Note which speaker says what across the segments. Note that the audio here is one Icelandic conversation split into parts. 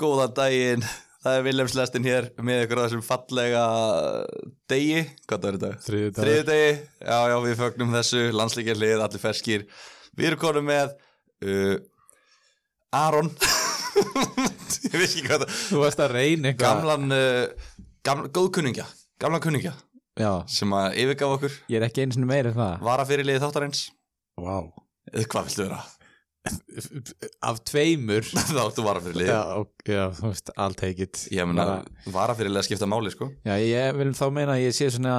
Speaker 1: Góðan daginn, það er Viljams Lestin hér með ykkur á þessum fallega degi, hvað það er þetta?
Speaker 2: Þriðjudagur.
Speaker 1: degi, já, já, við fögnum þessu, landslíkja hlið, allir ferskir Við erum konum með uh, Aron Ég veist ekki hvað það
Speaker 2: Þú varst að reyna eitthvað
Speaker 1: Gamlan, uh, gaml, góð kunningja, gamlan kunningja
Speaker 2: Já,
Speaker 1: sem að yfirgaf okkur,
Speaker 2: ég er ekki einu sinni meira en það
Speaker 1: vara fyrir liði þáttarins
Speaker 2: Vá wow.
Speaker 1: Eða hvað viltu vera?
Speaker 2: Af tveimur
Speaker 1: Þá áttu vara fyrir liði
Speaker 2: já, ok, já, þú veist, I'll take it
Speaker 1: Ég meina,
Speaker 2: Bara-
Speaker 1: vara fyrir liði að skipta máli, sko
Speaker 2: Já, ég vil þá meina að ég sé svona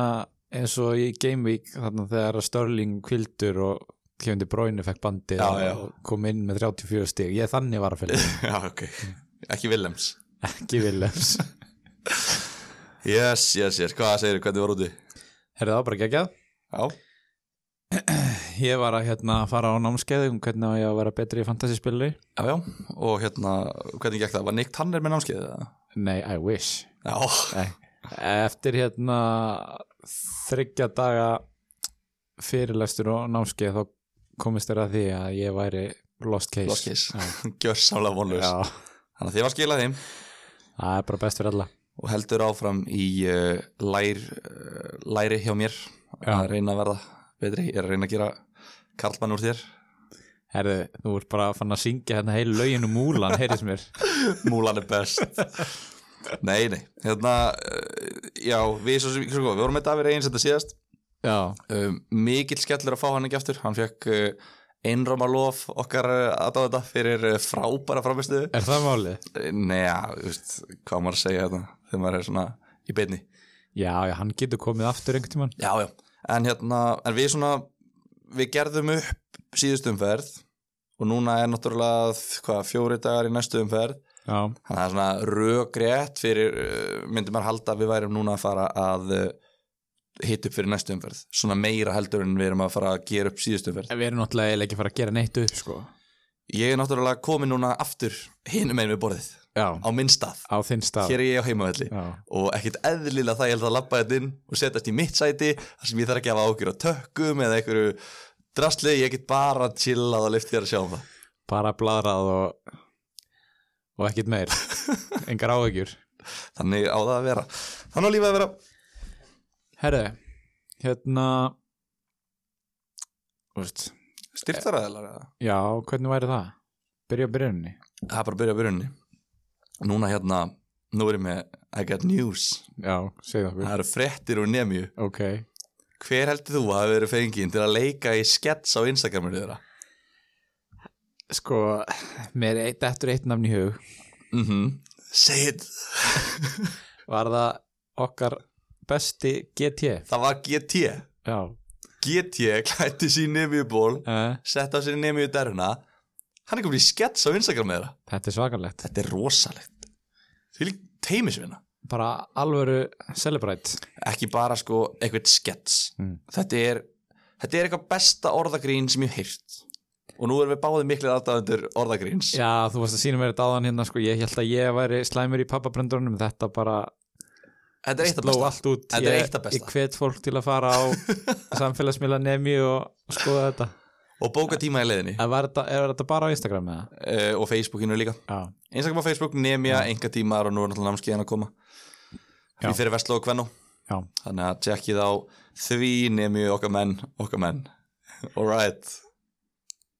Speaker 2: eins og í Game Week þannig að þegar Störling kvildur og Kevin De Bruyne fekk bandið
Speaker 1: Já, já.
Speaker 2: og kom inn með 34 stig ég er þannig var að fyrir,
Speaker 1: Já, ok, ekki Viljams
Speaker 2: ekki Willems
Speaker 1: Yes, yes, yes, hvað segir þið, hvernig var úti?
Speaker 2: Er það bara geggjað?
Speaker 1: Já,
Speaker 2: Ég var að hérna, fara á námskeið um hvernig á ég að vera betri í fantasyspilli
Speaker 1: já, já, og hérna, hvernig gekk það? Var Nick Tanner með námskeið? eða?
Speaker 2: Nei, I wish
Speaker 1: Já,
Speaker 2: Nei. Eftir hérna þryggja daga fyrirlestur og námskeið þá komist þér að því að ég væri lost case.
Speaker 1: Lost case. gjörsamlega vonlaus
Speaker 2: Já,
Speaker 1: Þannig að þið var skilað þeim
Speaker 2: það er bara best fyrir alla.
Speaker 1: og heldur áfram í uh, lær, uh, læri hjá mér að reyna að verða betri, ég er að reyna að gera karlmann úr þér,
Speaker 2: Herðu, þú ert bara fann að syngja hérna heil lögin um múlan, heyrðis mér.
Speaker 1: múlan er best Nei, nei, hérna, uh, já, við, svo, sem- sko, við vorum með Davíð Egins þetta síðast
Speaker 2: Já,
Speaker 1: um, mikill skellur að fá hann ekki aftur hann fekk uh, einróma lof okkar uh, aðdáðanda fyrir uh, frábæra framistuðu
Speaker 2: er það málið?
Speaker 1: neða, þú veist, hvað á maður að segja þetta þegar maður er svona í beinni
Speaker 2: Já, já, hann getur komið aftur einhvern tímann.
Speaker 1: já, já, en hérna en við svona, við gerðum upp síðustu umferð og núna er náttúrulega hvað, fjóri dagar í næstu umferð
Speaker 2: Já,
Speaker 1: þannig að það er svona rökrétt fyrir, uh, myndi maður halda að við værum núna að fara að uh, hita upp fyrir næstu umferð, svona meira heldur en við erum að fara að gera upp síðustu umferð
Speaker 2: en við erum náttúrulega eiginlega ekki að fara að gera neitt upp, sko.
Speaker 1: Ég er náttúrulega komin núna aftur hinum einu við borðið
Speaker 2: Já,
Speaker 1: á minn stað.
Speaker 2: á þinn stað.
Speaker 1: Hér er ég á heimavelli
Speaker 2: Já,
Speaker 1: og ekkert eðlilega það ég held að labba þetta inn og setjast í mitt sæti þar sem ég þarf ekki að hafa ágjur á tökkum eða einhverju drastli, ég get bara chillað og lift þér að sjá um það.
Speaker 2: bara bladrað og, og ekkit meir. Engar áhugjur.
Speaker 1: Þannig á það að vera. Þannig á lífið að vera.
Speaker 2: Herre, hérna Þú veist
Speaker 1: Styrtaræðilar eða?
Speaker 2: Já, hvernig væri það? Byrja á byrjunni
Speaker 1: Það er bara að byrja að byrjunni. Núna hérna, nú erum við I got news.
Speaker 2: Já, segðu okkur
Speaker 1: Það eru frettir og nemju.
Speaker 2: Ok,
Speaker 1: Hver heldur þú að hafa verið fengið til að leika í skets á Instagraminu þeirra?
Speaker 2: sko Mér er eitt eftir eitt nafn í hug
Speaker 1: Mhm. Segið
Speaker 2: Var það okkar besti GT
Speaker 1: Það var GT
Speaker 2: Já
Speaker 1: GT klætti sín nemiuból
Speaker 2: uh,
Speaker 1: Sett á sér nemiu derna Hann er komin í skets á Instagram með það
Speaker 2: Þetta er svakalegt
Speaker 1: Þetta er rosalegt Því lík teimisvinna
Speaker 2: Bara alvöru celebrate
Speaker 1: Ekki bara sko eitthvað skets
Speaker 2: Mm.
Speaker 1: Þetta er Þetta er eitthvað besta orðagrín sem ég hef heyrt Og nú erum við báðið miklið aðdáðundur orðagríns
Speaker 2: Já, þú varst að sína mér þetta áðan hérna sko Ég held að ég væri slæmur í pappabröndunum Þetta bara
Speaker 1: Þetta er eitt af
Speaker 2: sló
Speaker 1: besta
Speaker 2: allt út
Speaker 1: Þetta er eitt af besta.
Speaker 2: Ég, ég hvet fólk til að fara á samfélagsmiðla nemi og skoða þetta
Speaker 1: Og bóka tíma í leiðinni
Speaker 2: En var þetta, er þetta bara á Instagram eða?
Speaker 1: uh, Og Facebookinu líka
Speaker 2: Já.
Speaker 1: Instagram og Facebook nemja, enga tímar og nú er náttúrulega námskeiðan að koma
Speaker 2: Já.
Speaker 1: Við fyrir Vestló og Kvennó
Speaker 2: Já.
Speaker 1: Þannig að tjekkið á því nemi okkar menn, okkar menn. Alright.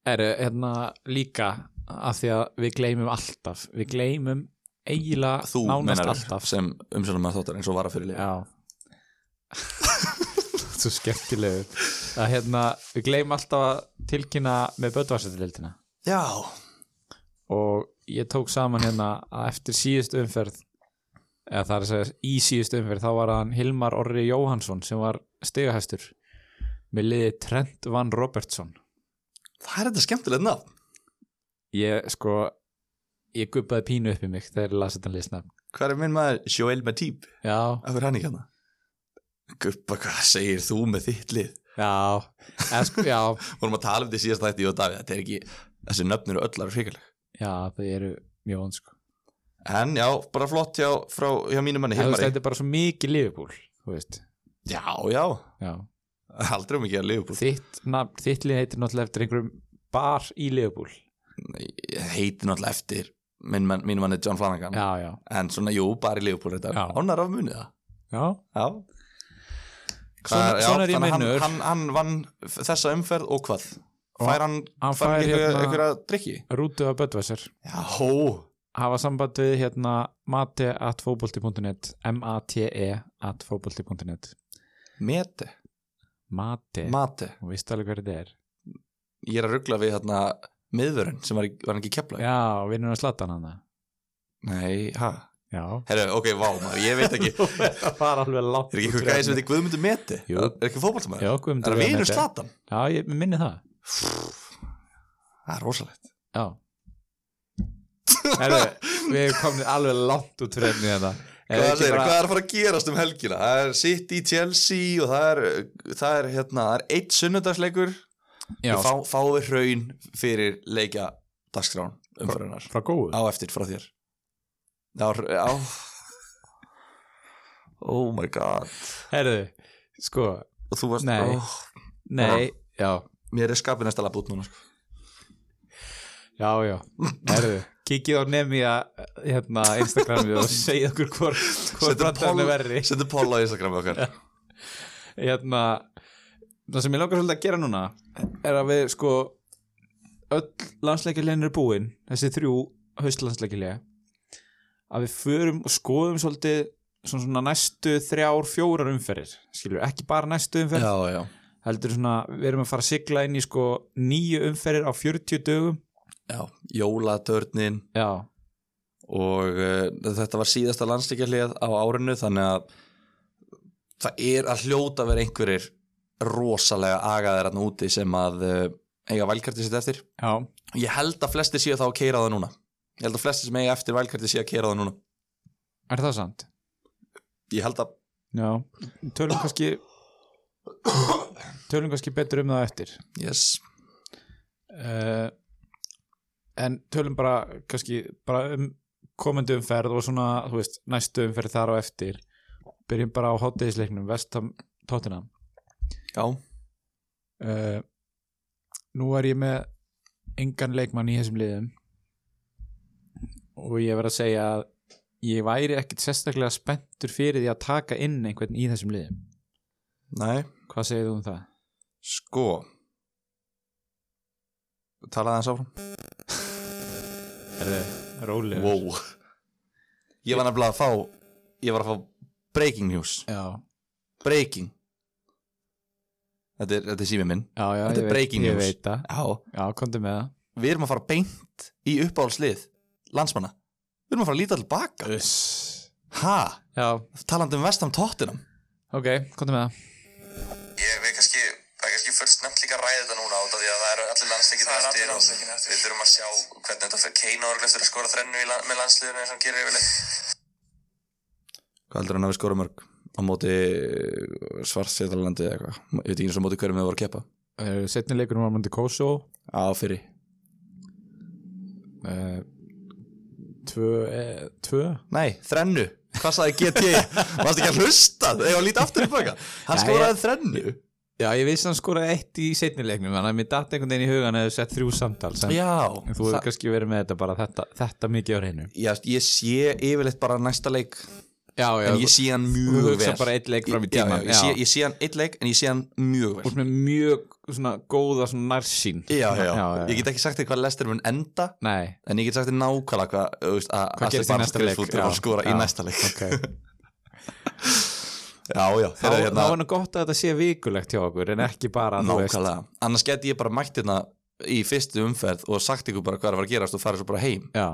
Speaker 2: Er hérna líka að því að við gleymum alltaf, við gleymum eiginlega
Speaker 1: Þú
Speaker 2: nánast
Speaker 1: meinar
Speaker 2: alltaf.
Speaker 1: sem umsönum að þáttar eins og vara fyrir lið.
Speaker 2: Já. Svo skemmtilegur. Að hérna, við gleymum alltaf að tilkynna með bötvarsættildina
Speaker 1: Já.
Speaker 2: og ég tók saman hérna að eftir síðust umferð eða það er að segja í síðust umferð þá var hann Hilmar Orri Jóhansson sem var stigahæstur með liði Trent Van Robertson
Speaker 1: Það er þetta skemmtilegt nafn.
Speaker 2: ég sko ég guppaði pínu upp í mig þegar ég lasi þetta liðsnafn
Speaker 1: Hvað er minn maður? Joel Matip.
Speaker 2: já,
Speaker 1: Af hverju er hann hérna? ekki hann? Guppa, hvað segir þú með þitt lið?
Speaker 2: já, eða, sko, já
Speaker 1: Vorum að tala um því síðast þætti og Davíð, þetta er ekki, þessi nöfnir eru öllar hrikaleg.
Speaker 2: já, það eru mjög vond sko
Speaker 1: En já, bara flott hjá, frá, hjá mínum manni
Speaker 2: Eða, þú veist,
Speaker 1: Hilmari.
Speaker 2: þetta er bara svo mikið liðbúl þú veist,
Speaker 1: Já, já,
Speaker 2: já
Speaker 1: aldrei um ekki að liðbúl.
Speaker 2: þitt, nafn, þitt lið heitir náttúrulega eftir einhverjum bar í liðbúl
Speaker 1: Heiti náttúrulega eftir minn, mann- mín manni John Flanagan
Speaker 2: já, já,
Speaker 1: en svona, jú, bara í Liverpool þetta
Speaker 2: Já.
Speaker 1: ánar af munið það
Speaker 2: já
Speaker 1: já.
Speaker 2: Svona,
Speaker 1: Það- já,
Speaker 2: svona er ég
Speaker 1: þannig að
Speaker 2: minnur
Speaker 1: hann, hann, hann vann f- þessa umferð og hvað fær hann,
Speaker 2: hann
Speaker 1: fær
Speaker 2: fær
Speaker 1: hann einhverja,
Speaker 2: hérna-
Speaker 1: einhverja drikki
Speaker 2: Rútu að Böttvæsar
Speaker 1: já, hó
Speaker 2: hafa samband við hérna mate.fóbolti.net M-A-T-E E at fóbolti.net
Speaker 1: mete,
Speaker 2: Mate,
Speaker 1: mate
Speaker 2: hún veist alveg hverju þetta er
Speaker 1: ég er að ruggla við hérna miðvörun sem var, í- var hann ekki kepla
Speaker 2: Já, vinnur að slatta hann hana
Speaker 1: nei, ha,
Speaker 2: Já
Speaker 1: herru, ok, vá maður, ég veit ekki er
Speaker 2: Það var alveg látt
Speaker 1: ekki eitthvað gæði sem þetta Guðmundur meti
Speaker 2: Jú.
Speaker 1: er ekki fótballtamaður,
Speaker 2: Já, Guðmundur
Speaker 1: er að vinur
Speaker 2: Guðmundur.
Speaker 1: slatan
Speaker 2: Já, ég minni það
Speaker 1: það er rosalegt
Speaker 2: Já Herðu, við erum komin alveg látt út fyrir efni þetta Er
Speaker 1: Hvað,
Speaker 2: Eh, ekki
Speaker 1: segir,
Speaker 2: bara-
Speaker 1: hvað er að fara að gerast um helgina? Það er City, Chelsea og það er, það er, hérna, það er eitt sunnudagsleikur
Speaker 2: Já,
Speaker 1: Við fá, fáum við hraun fyrir leikja dagskrán umfyrunar
Speaker 2: frá góðu
Speaker 1: á eftir frá þér á, á. oh my god
Speaker 2: Herðu, sko,
Speaker 1: og þú varst
Speaker 2: Nei.
Speaker 1: oh,
Speaker 2: nei Já,
Speaker 1: mér er skapið næsta labbút núna sko.
Speaker 2: já, já Herðu, kikið á nemi að hérna, Instagramið og segja okkur hvort hvort
Speaker 1: Settu
Speaker 2: brandarinn er verri
Speaker 1: setu poll á Instagram okkar
Speaker 2: hérna, það sem ég langar svolítið að gera núna er að við sko öll landsleikilegin er búin þessi þrjú haustlandsleikilega að við förum og skoðum svolítið svona, svona næstu þrjár, fjórar umferðir skilur, ekki bara næstu umferð
Speaker 1: já,
Speaker 2: heldur svona, við erum að fara að sigla inn í sko nýju umferðir á 40 dögum
Speaker 1: já. jólatörnin
Speaker 2: já,
Speaker 1: og uh, þetta var síðasta landslíkjarlið á árinu þannig að það er að hljóta vera einhverjir rosalega agaðir hann úti sem að uh, eiga valkartið sitt eftir
Speaker 2: já,
Speaker 1: Ég held að flesti séu þá að keira það núna Ég held að flesti sem eiga eftir vælkarti séu að keira það núna
Speaker 2: er það sant?
Speaker 1: Ég held að
Speaker 2: já, tölum kannski tölum kannski betur um það eftir
Speaker 1: yes.
Speaker 2: uh, en tölum bara kannski bara um komandi umferð og svona þú veist, næstu umferð þar á eftir byrjum bara á hotdeisleiknum Vestam Tottenham
Speaker 1: Já,
Speaker 2: uh, nú er ég með engan leikmann í þessum liðum og ég verð að segja að ég væri ekkit sérstaklega spenntur fyrir því að taka inn einhvern í þessum liðum
Speaker 1: nei,
Speaker 2: hvað segir þú um það?
Speaker 1: sko Talaði hans áfram
Speaker 2: Er það rólega?
Speaker 1: wow. Ég var nefnilega að fá Ég var að fá breaking news
Speaker 2: Já,
Speaker 1: Breaking Þetta er, þetta er sími minn
Speaker 2: já, já
Speaker 1: Þetta
Speaker 2: ég
Speaker 1: er
Speaker 2: veit-
Speaker 1: breaking
Speaker 2: ég
Speaker 1: news.
Speaker 2: veit það,
Speaker 1: Já,
Speaker 2: já, komdu með það
Speaker 1: við erum að fara beint í uppáhalslið landsmanna Við erum að fara að líta til baka
Speaker 2: Uss.
Speaker 1: Ha,
Speaker 2: Já,
Speaker 1: talandi um vestam tóttinum
Speaker 2: ok, komdu með það
Speaker 3: Ég veit kannski, það er kannski full snemt líka að ræða þetta núna út af því að það eru allir landsleikin eftir. Það eru allir landsleikin eftir. Við þurfum að sjá hvernig þetta fyrir Keino og eftir að skora þrennu í, lan- með landsliðinu eins og hann gerir yfirleitt.
Speaker 1: Hvað heldur hann að við skora mörg á móti svartsétalandi eða eitthvað? Ég veit ekki eins og á móti hverjum við vorum að keppa.
Speaker 2: uh, Setni leikunum var mændi Kosovo
Speaker 1: Á fyrir.
Speaker 2: uh, Tvö, eh, tvö
Speaker 1: Nei, þrennu. Hvað sagði GT? Varst ekki að hlusta? Þegar að líta aftur í baka. Hann
Speaker 2: Já,
Speaker 1: skoraði þrennu.
Speaker 2: Já, ég vissi hann skoraði eitt í setni leiknum Þannig að mér datt einhvern veginn í hugan eða sett þrjú samtals en,
Speaker 1: Já.
Speaker 2: en þú hefur
Speaker 1: það-
Speaker 2: kannski verið með þetta bara þetta, þetta mikið á reynu
Speaker 1: Já, ég sé yfirleitt bara næsta leik
Speaker 2: Já, já,
Speaker 1: en ég sé hann mjög
Speaker 2: þú
Speaker 1: vel.
Speaker 2: hugsa bara einn leik fram í tímann,
Speaker 1: Já, já, ég,
Speaker 2: já.
Speaker 1: Sé, ég sé hann eitt leik en ég sé hann mjög vel.
Speaker 2: Úr með mjög svona góða svona nærsýn
Speaker 1: Já, já,
Speaker 2: já, já.
Speaker 1: Ég get ekki sagt þér hvað lestir mun enda
Speaker 2: Nei,
Speaker 1: en ég get sagt þér nákvæmlega hvað, þú veist, að
Speaker 2: hvað gerist í næsta leik
Speaker 1: Það var skora í næsta leik.
Speaker 2: okay.
Speaker 1: Já, já.
Speaker 2: Þá
Speaker 1: þeir eru hérna
Speaker 2: þá er nú gott að þetta sé vikulegt hjá okkur En ekki bara, þú veist
Speaker 1: Nákvæmlega, annars geti ég bara mætt hérna í fyrstu umferð og sagt ykkur bara hvað er að fara að gerast og farið svo bara heim
Speaker 2: Já,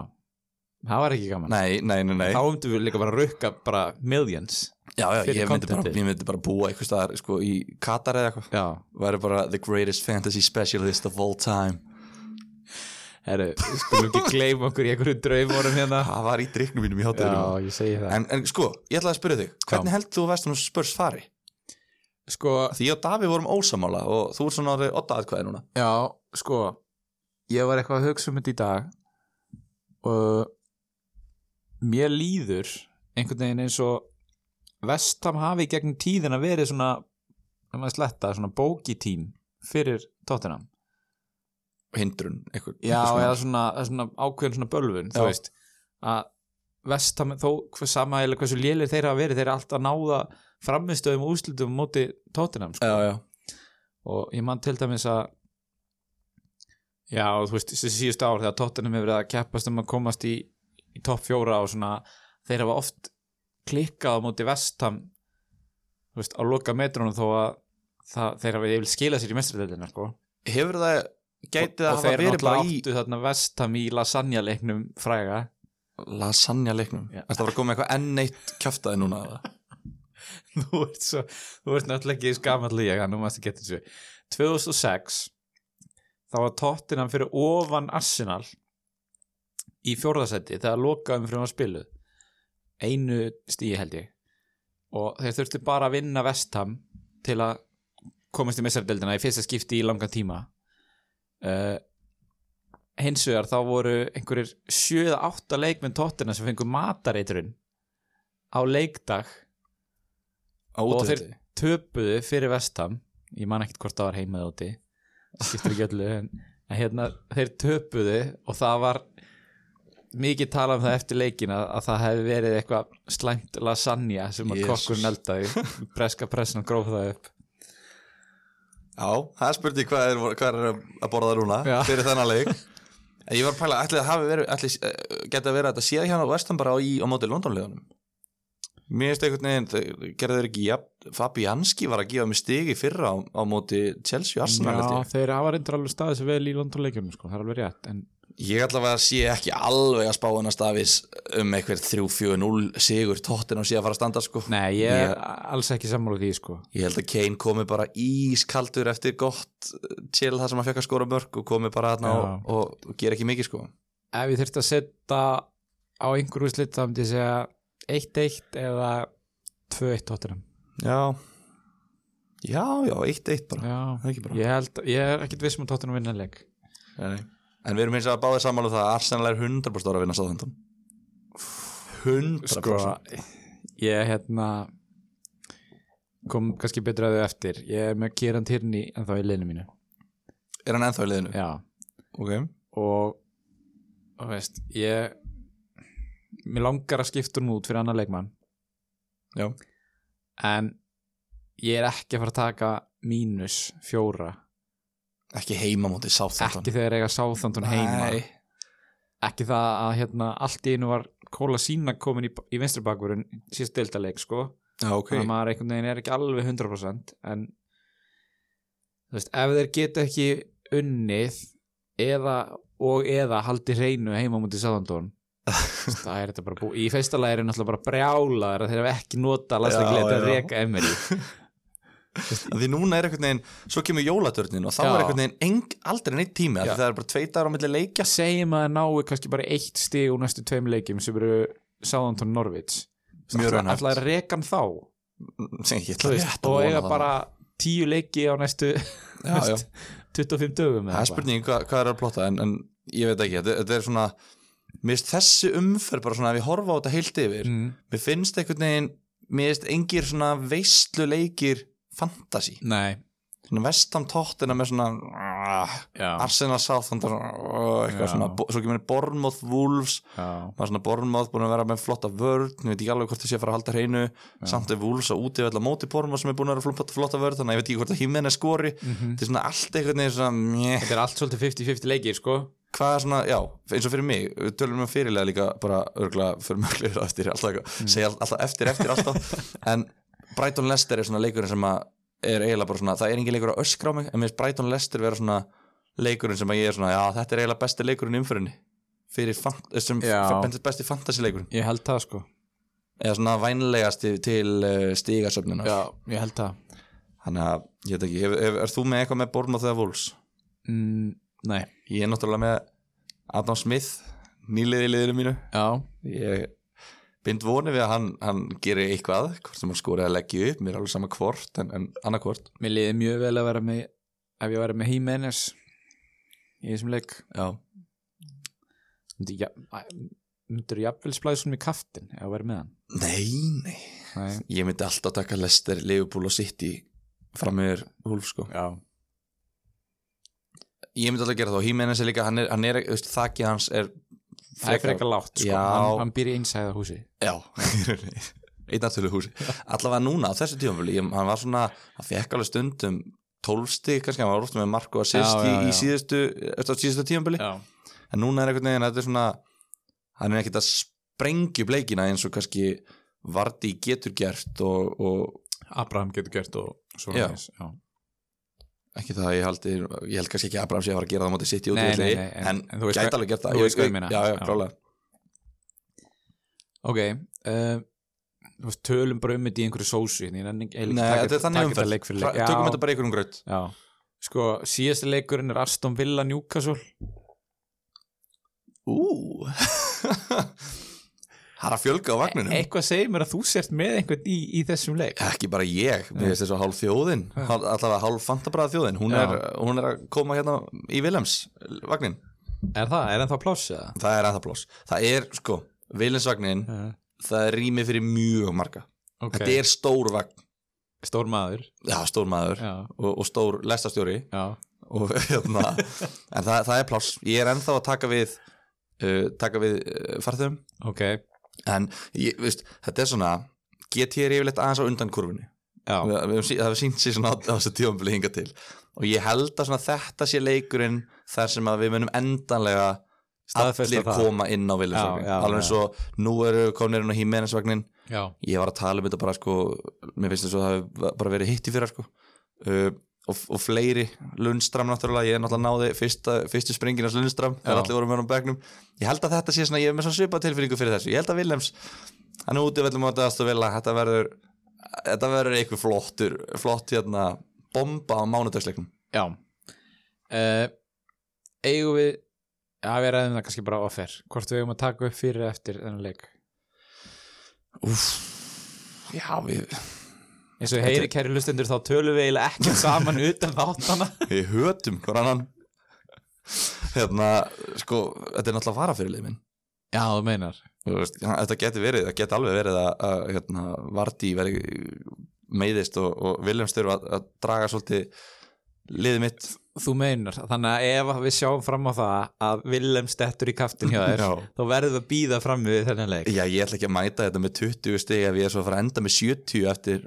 Speaker 2: það var ekki gaman
Speaker 1: Nei, nei, nei, nei
Speaker 2: Þá umtum við líka bara að rukka bara millions
Speaker 1: Já, já,
Speaker 2: fyrir
Speaker 1: ég myndi, bara,
Speaker 2: contentið.
Speaker 1: ég myndi bara búa eitthvað staðar sko, í Katar eða eitthvað
Speaker 2: Já,
Speaker 1: Væri bara the greatest fantasy specialist of all time
Speaker 2: Herru, við skulum ekki gleyma okkur í einhverju draumórum hérna
Speaker 1: Það var í drikknum mínum í hátæðinu
Speaker 2: Já, ég segi það
Speaker 1: en, en sko, ég ætlaði að spyrja þig Hvernig heldur þú að vestum spörs fari?
Speaker 2: Sko,
Speaker 1: Því ég og Davi vorum ósamála og þú ert svona orðið otta aðkvæði núna
Speaker 2: já, sko Ég var eitthvað að hugsa um þetta í dag og mér líður einhvern veginn eins og Vestam hafi í gegnum tíðina verið svona um að sletta, svona bókitím fyrir tóttinam
Speaker 1: Hindrun, eitthvað
Speaker 2: Já,
Speaker 1: eitthvað svona.
Speaker 2: eða svona, eða svona ákveðin svona bölvun,
Speaker 1: Já.
Speaker 2: þú veist að vestam, þó hver- sama eða hversu lélir þeir hafa verið, þeir eru alltaf að náða framistöðum og úslutum móti tóttinam sko.
Speaker 1: já, já,
Speaker 2: og ég man til dæmis að já, þú veist, þessi síðustu ár þegar tóttinam hefur verið að keppast um að komast í, í topp fjóra og svona þeir hafa oft klikkað á móti vestam þú veist, á loka metrunum þó að það, þeir hafa yfir skilað sér í mestriðeldina sko.
Speaker 1: hefur það gætið að
Speaker 2: og
Speaker 1: hafa
Speaker 2: þeir
Speaker 1: verið bara
Speaker 2: náttúrulega
Speaker 1: í
Speaker 2: áttu þarna vestam í lasagna leiknum fræga
Speaker 1: lasagna leiknum
Speaker 2: Já.
Speaker 1: þetta var að koma með eitthvað enn eitt kjaftaði núna eða?
Speaker 2: þú ert svo, þú ert náttúrulega ekki skamall í ég, nú mást að geta þessu 2006 þá var Tottenham fyrir ofan Arsenal í fjórðasetti þegar lokaðum fyrir að spiluð einu stíi held ég og þeir þurftu bara að vinna Vestham til að komast í messardeldina í fyrsta skipti í langan tíma uh, hins vegar þá voru einhverjir 7-8 leikmenn Tottenham sem fengur matareiturinn á leikdag
Speaker 1: á
Speaker 2: Og
Speaker 1: útivelli.
Speaker 2: töpuðu fyrir vestam ég man ekkert hvort það var heima eða úti skiptir ekki öllu en, en hérna, þeir töpuðu og það var mikið tala um það eftir leikin að, að það hefði verið eitthvað slæmt lasagna sem að
Speaker 1: Jesus.
Speaker 2: kokkurinn eldaði breska pressan gróf það upp
Speaker 1: Já, það er spurning hvað er, hvað er að borða núna
Speaker 2: Já.
Speaker 1: fyrir þennan leik en ég var að pæla, ætli það hafi verið ætli, eh, geti að vera að þetta séð hérna á Vestan bara á, í, á móti Londonleðunum Mér finnst einhvern veginn, þau- gerðu þeir ekki jafn, Fabianski var að gefa mig stigi fyrra á, á móti Chelsea og Arsenal held ég.
Speaker 2: þeir hafa reyndur alveg staðið sem vel í Londonleikjum sko, það er alveg rétt en
Speaker 1: Ég ætla að sé ekki alveg að spá hennar stafis um einhver 3-4-0 sigur tóttin og sé að fara að standa sko
Speaker 2: nei, ég er
Speaker 1: Ég-
Speaker 2: alls ekki sammála því sko
Speaker 1: Ég held að Kane komi bara ískaldur eftir gott til það sem hann fekk að skora mörg og komi bara þarna
Speaker 2: Já.
Speaker 1: og, og, og gera ekki mikið sko
Speaker 2: ef ég þurfti að setja á einhverju slitt þá myndi ég segja 1-1 eða 2-1 tóttunum
Speaker 1: Já Já, já, eitt eitt bara
Speaker 2: Já,
Speaker 1: Það er ekki bara.
Speaker 2: ég, held, ég er ekkert viss um að Tottenham vinna leik
Speaker 1: Nei, nei. En við erum hins að báðið sammála um það að Arsenal er 100% ára að vinna sáðhendum 100%
Speaker 2: Sko, ég hérna kom kannski betur að þau eftir ég er með Kieran Tierney en þá í leinu mínu
Speaker 1: Er hann ennþá í liðinu?
Speaker 2: já,
Speaker 1: Ok
Speaker 2: og og veist, ég mér langar að skipta hún út fyrir annar leikmann
Speaker 1: Já.
Speaker 2: en ég er ekki að fara að taka mínus fjóra
Speaker 1: Ekki heima mótið sáðhendum
Speaker 2: ekki þegar eiga sáþandun heima
Speaker 1: Nei.
Speaker 2: ekki það að hérna allt í einu var Kóla sína komin í, í vinstri bakvörun síðast deildaleik sko
Speaker 1: Já, ok
Speaker 2: þannig að maður einhvern veginn er ekki alveg 100% en þú veist, ef þeir geta ekki unnið eða og eða haldi hreinu heima múti sáðandón það er þetta bara búið í fyrsta lagi er þeir náttúrulega bara brjálaður að þeir hafa ekki nota landsleiklega
Speaker 1: Já,
Speaker 2: til að
Speaker 1: já.
Speaker 2: reka Emery
Speaker 1: Af Því núna er einhvern veginn Svo kemur jólatörnin og þá
Speaker 2: Já.
Speaker 1: er einhvern veginn eng, aldrei neitt tími af
Speaker 2: Já.
Speaker 1: því Það er bara tveitar á milli leikja
Speaker 2: segjum að þeir náu kannski bara eitt stig úr næstu tveim leikjum sem eru sáðandón Norvits
Speaker 1: Mjög raunhæft.
Speaker 2: alltaf er rekan þá þú
Speaker 1: Sem ég ætla
Speaker 2: veist,
Speaker 1: rétt að
Speaker 2: og
Speaker 1: vona
Speaker 2: eiga
Speaker 1: það.
Speaker 2: bara tíu leiki á næstu
Speaker 1: Já, já
Speaker 2: 25
Speaker 1: Það
Speaker 2: dögum eða
Speaker 1: er
Speaker 2: eitthvað.
Speaker 1: spurning hvað, hvað er að plotta en, en ég veit ekki, þetta, þetta er svona mér finnst þessi umferð bara svona ef ég horfa á þetta heilt yfir,
Speaker 2: mm.
Speaker 1: mér finnst einhvern veginn mér finnst engir svona veistluleikir fantasi,
Speaker 2: nei,
Speaker 1: svona vestam tóttina með svona uh,
Speaker 2: já
Speaker 1: Arsenal Southampton uh, eitthvað
Speaker 2: Já.
Speaker 1: svona, bo- svo kemur Bournemouth Wolves
Speaker 2: Já,
Speaker 1: maður svona Bournemouth búin að vera með flotta vörð ég veit ekki alveg hvort þessi að fara að halda hreinu samt er Wolves að úti að móti Bournemouth sem er búin að vera flotta, flotta vörð, þannig að ég veit ekki hvort að Jimenez skori, þetta er svona allt einhvern veginn svona, meh.
Speaker 2: Mhm. þetta er allt svolítið 50-50 leikir sko
Speaker 1: hvað er svona, já, eins og fyrir mig við tölum um fyrirlega líka bara örgla fyrir möglir á eftir, alltaf, mm. segja all- alltaf eftir, eftir alltaf, en Brighton Lester er svona leikurinn sem að er eiginlega bara svona, það er engin leikur að öskra á mig en mér finnst Brighton Lester vera svona leikurinn sem að ég er svona, já, þetta er eiginlega besti leikurinn í umfyrinni, fyrir fan- sem
Speaker 2: Já.
Speaker 1: f- besti fantasy leikurinn
Speaker 2: Ég held það sko
Speaker 1: eða svona vænlegast til uh, stígasöfnina
Speaker 2: ég held það
Speaker 1: þannig að, ég veit ekki, hef, hef, er þú með eitthvað með Bournemouth eða Wolves?
Speaker 2: mm, Nei
Speaker 1: Ég er náttúrulega með Adam Smith, nýliði í liðinu mínu
Speaker 2: Já,
Speaker 1: ég bind vonið við að hann, hann gerir eitthvað, hvort sem hann skorið að leggja upp mér er alveg sama hvort, en, en annarkvort
Speaker 2: mér liði mjög vel að vera með ef ég væri með Jimenez í þessum leik
Speaker 1: já,
Speaker 2: Myndi ja- æ, myndirðu jafnvel splæði svona í kaftin ef ég væri með hann
Speaker 1: nei, nei
Speaker 2: Nei.
Speaker 1: ég myndi alltaf taka Lester, Liverpool og City fram meður húl sko
Speaker 2: Já,
Speaker 1: ég myndi alltaf gera það og Hímenes er líka, hann er, hann er þú veist, þakki hans er
Speaker 2: það er frekar lágt sko.
Speaker 1: Já.
Speaker 2: hann, hann býr í einsæða húsi
Speaker 1: Já, einn aftölu húsi Allavega núna á þessu tíumfjölu hann var svona, hann fekk alveg stundum 12 stig, kannski hann var ofta með mark og assist
Speaker 2: Já, já,
Speaker 1: í, í
Speaker 2: já.
Speaker 1: síðustu, eftir á síðustu tíumfjölu
Speaker 2: já,
Speaker 1: en núna er einhvern veginn, þetta er svona hann er ekkert að sprengja upp leikina eins og kannski Vardí getur gert og, og
Speaker 2: Abraham getur gert og svona
Speaker 1: Já.
Speaker 2: eins já.
Speaker 1: ekki það að ég haldi ég held kannski ekki að Abraham sé að fara að gera það á móti sitt í
Speaker 2: Nei,
Speaker 1: útvelli
Speaker 2: nei, nei, en-
Speaker 1: en,
Speaker 2: en
Speaker 1: en
Speaker 2: þú veist
Speaker 1: gæti
Speaker 2: hvað-
Speaker 1: alveg gert það
Speaker 2: þú
Speaker 1: Ég-
Speaker 2: veist hvað ég meina.
Speaker 1: Já, já,
Speaker 2: Já.
Speaker 1: klálega
Speaker 2: ok uh, þú veist, tölum bara um þetta í einhverju sósu ég nenni ekki- eiginlega
Speaker 1: Nei,
Speaker 2: ekki taka-
Speaker 1: þetta er
Speaker 2: taka
Speaker 1: þannig
Speaker 2: þetta leik fyrir
Speaker 1: umferð
Speaker 2: leik.
Speaker 1: Tra-
Speaker 2: Já.
Speaker 1: Tökum þetta bara í einhverjum gröð
Speaker 2: Já, sko, síðasta leikurinn er Aston Villa Newcastle
Speaker 1: Ú Það er að fjölga á
Speaker 2: E-
Speaker 1: vagninum
Speaker 2: Eitthvað segir mér að þú sért með einhvern í, í þessum leik
Speaker 1: Ekki bara ég, mér finnst þess að hálf þjóðin hálf, allavega hálf fantabræða þjóðin hún
Speaker 2: Já.
Speaker 1: er, hún er að koma hérna í Viljams vagnin,
Speaker 2: Er það, er ennþá pláss eða?
Speaker 1: það er ennþá pláss það er, sko, Viljams vagnin það er rými fyrir mjög marga
Speaker 2: Eh, Ok,
Speaker 1: þetta er stór vagn,
Speaker 2: stór maður
Speaker 1: já, stór maður
Speaker 2: Já,
Speaker 1: og, og stór lestastjóri
Speaker 2: já,
Speaker 1: og, hérna, en það, það er pláss ég er ennþá að taka við uh, taka við uh, farþum
Speaker 2: ok
Speaker 1: en, ég, veist, þetta er svona get ég er yfirleitt aðeins á undan kurfunni
Speaker 2: Já,
Speaker 1: við, við, höfum sí- það hefur sínt sér svona á, á þessu tífambili hinga til og ég held að svona þetta sé leikurinn þar sem að við munum endanlega
Speaker 2: Staðfesta
Speaker 1: allir
Speaker 2: það.
Speaker 1: koma inn á Viljusvagnin
Speaker 2: Já, já,
Speaker 1: alveg
Speaker 2: já.
Speaker 1: eins og nú eru við komnir inn á Hímenesvagnin
Speaker 2: já,
Speaker 1: ég var að tala um þetta bara sko mér finnst þess að það hefur bara verið hitt í fyrra sko uh, og, og fleiri Lundstram náttúrulega, ég er náttúrulega náði fyrsta, fyrstu springin hans Lundstram
Speaker 2: Já.
Speaker 1: þegar allir voru með hann á begnum ég held að þetta sé svona, ég er með svona svipað tilfinningu fyrir þessu ég held að Vilhems, hann er úti vellum á þetta aðstu vilja, þetta verður þetta verður eitthvað flottur flott hérna, bomba á mánudagsleiknum
Speaker 2: já uh, Eigum við Já, við ræðum það kannski bara offer Hvort við eigum að taka upp fyrir eða eftir þennan leik
Speaker 1: Úf, já við
Speaker 2: Eins og ég heyri kæri lustendur þá tölum við eiginlega ekki saman utan þáttana
Speaker 1: við hötum hver annan hérna, sko þetta er náttúrulega varafyrirlið minn
Speaker 2: Já, þú meinar
Speaker 1: Þú veist, hann- þetta geti verið, það geti alveg verið að, að hérna, Vardí veri meiðist og, og Viljams þurfa að, að draga svolítið liðið mitt
Speaker 2: Þú meinar, þannig að ef að við sjáum fram á það að Willem stettur í kaftin hjá þér
Speaker 1: Já.
Speaker 2: þá verðum við að býða fram við þennan leik
Speaker 1: Já, ég ætla ekki að mæta þetta með 20 stig ef ég er svo að fara að enda með 70 eftir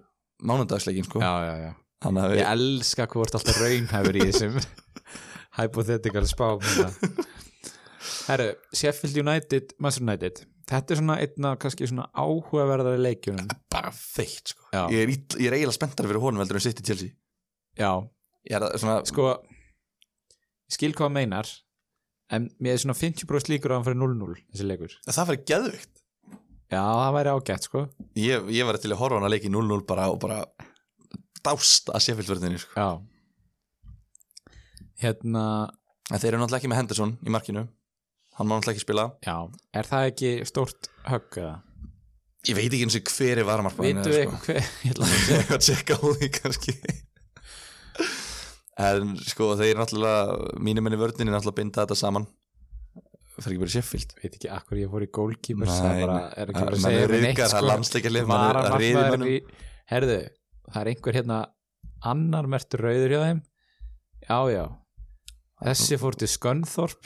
Speaker 1: mánudagsleikin sko.
Speaker 2: Já, já, já
Speaker 1: Þannig að við,
Speaker 2: Ég elska hvað vart alltaf raunhæfur í þessum hypothetical spám hérna. Herru, Sheffield United Manchester United, þetta er svona einna kannski svona áhugaverðari leikjunum
Speaker 1: bara feitt sko.
Speaker 2: Já.
Speaker 1: ég, er ill, ég er eiginlega spenntar fyrir honum heldur en sitt í Chelsea
Speaker 2: Já,
Speaker 1: Ég er að- svona,
Speaker 2: sko ég skil hvað hann meinar en mér er svona 50% líkur á hann fyrir 0-0 þessi leikur.
Speaker 1: Það fyrir geðvikt
Speaker 2: Já, það væri ágætt sko
Speaker 1: Ég, ég var til að horfa á hann að leiki 0-0 bara og bara dást að séfjöldverðinni sko.
Speaker 2: Já Hérna,
Speaker 1: En þeir eru náttúrulega ekki með Henderson í markinu Hann má náttúrulega ekki spila
Speaker 2: já, er það ekki stórt högg eða?
Speaker 1: Ég veit ekki eins og hver er varmarkmann
Speaker 2: Vitum við eitthvað hver, ég ætla að
Speaker 1: Ég var að tjekka á því kannski En sko þeir náttúrulega Mínum enni vörninni náttúrulega binda þetta saman Það er ekki bara Sheffield
Speaker 2: veit ekki akkur ég fór í goalkeeper
Speaker 1: Nei,
Speaker 2: það er bara,
Speaker 1: nei.
Speaker 2: er ekki
Speaker 1: Að-
Speaker 2: bara að
Speaker 1: mann
Speaker 2: segja
Speaker 1: er
Speaker 2: mér neitt sko.
Speaker 1: ryðgað, það er landsleikjarlið, mann er- að
Speaker 2: Varamarkmaður
Speaker 1: ryðja mönnum.
Speaker 2: í- herðu, það er einhver hérna annar mertur rauður hjá þeim já, já þessi fór til Skönþorp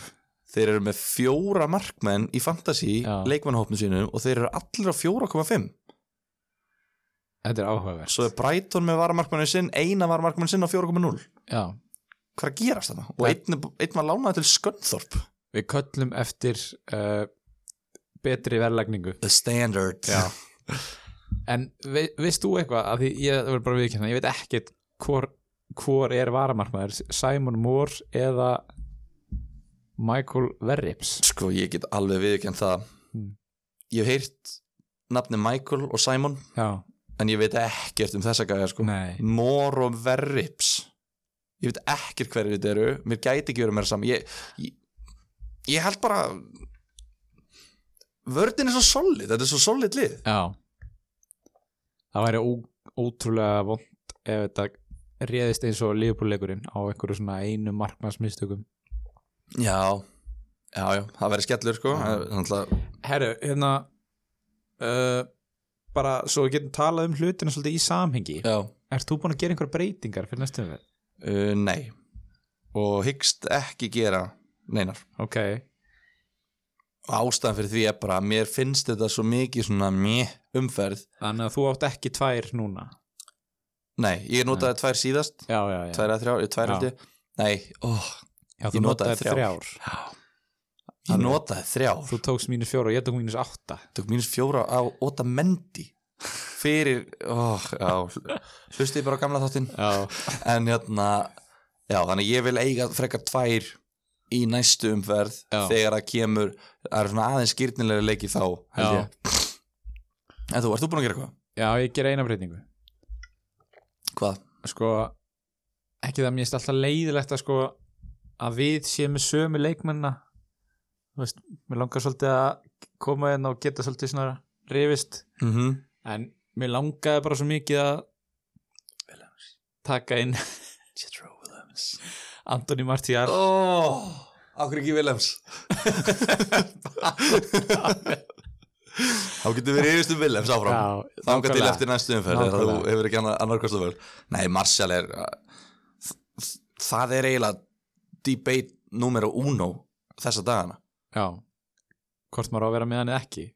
Speaker 1: Þeir eru með fjóra markmenn í fantasy
Speaker 2: Já.
Speaker 1: leikmannhópnum sínum og þeir eru allir á 4,5
Speaker 2: þetta er áhugaverð
Speaker 1: Svo er Brighton með varamarkmannin sinn eina varamarkmannin sinn á 4,0
Speaker 2: já,
Speaker 1: Hvað er að gerast þetta? Og
Speaker 2: Nei.
Speaker 1: einn, er- einn var lánaði til Skönþorp
Speaker 2: við köllum eftir uh, betri verðlagningu
Speaker 1: The Standard
Speaker 2: Já. en vei- veist þú eitthvað að því ég verður bara viðkjönda, ég veit ekkert hvor, hvor er varamarkmaður Simon Moore eða Michael Verrips
Speaker 1: Sko ég get alveg viðkjönd það
Speaker 2: Mm.
Speaker 1: Ég hef heyrt nafni Michael og Simon
Speaker 2: já,
Speaker 1: en ég veit ekkert um þessa gæja sko
Speaker 2: nei
Speaker 1: Mor og Verrips ég veit ekkert hverju þetta eru mér gæti ekki verið meira saman ég, ég, ég held bara vördin er svo solid þetta er svo solid lið
Speaker 2: Já Það væri ó, ótrúlega vond ef þetta réðist eins og liðbúrleikurinn á einhverju svona einu markmannsmistökum
Speaker 1: já, já, já, það verður skellur sko
Speaker 2: Já.
Speaker 1: þannig að
Speaker 2: Herru, hérna uh, bara svo við getum talað um hlutina svolítið í samhengi
Speaker 1: já,
Speaker 2: Ert þú búin að gera einhverja breytingar fyrir næstum við?
Speaker 1: uh, nei og hyggst ekki gera neinar
Speaker 2: Ok
Speaker 1: ástæðan fyrir því er bara að mér finnst þetta svo mikið svona meh umferð
Speaker 2: Þannig að þú átt ekki tvær núna
Speaker 1: nei, ég notaði tvær síðast
Speaker 2: Já, já, já
Speaker 1: tvær að þrjár, ég tvær
Speaker 2: Já.
Speaker 1: held ég nei, oh, ó,
Speaker 2: Já,
Speaker 1: ég
Speaker 2: þú
Speaker 1: notaði
Speaker 2: notaði þrjár
Speaker 1: ég
Speaker 2: Þannig-
Speaker 1: notaði þrjár
Speaker 2: Þú tókst mínus fjóra og ég tók mínus átta
Speaker 1: tók mínus fjóra á óta mendi fyrir, ó, já hlustið bara á gamla þáttinn
Speaker 2: Já,
Speaker 1: en hérna, já, þannig ég vil eiga frekar tvær í næstu umferð
Speaker 2: Já.
Speaker 1: þegar það kemur það eru svona aðeins skýrnilega leiki þá held
Speaker 2: Já.
Speaker 1: ég en þú, ert þú búin að gera eitthvað?
Speaker 2: já ég ger eina breytingu
Speaker 1: Hvað?
Speaker 2: Sko, ekki það mér finnst alltaf leiðilegt að sko að við séum með sömu leikmennina Þú veist, mér langar svolítið að koma inn og geta svolítið svona rifist
Speaker 1: Mm
Speaker 2: en mér langaði bara svo mikið að taka inn
Speaker 1: Jethro Williams
Speaker 2: Anthony Martial
Speaker 1: Ó, okkur ekki Willems Þá getur við reyðist um Willems áfram
Speaker 2: Já,
Speaker 1: Þanga til
Speaker 2: nákvæmlega.
Speaker 1: eftir næstu umferð þegar Þú
Speaker 2: Nákvæmlega.
Speaker 1: hefur ekki annar, annar kostu vörð Nei, Martial er uh, þ- Það er eiginlega debate numero uno þessa dagana
Speaker 2: Já, hvort maður á að vera með hann eða ekki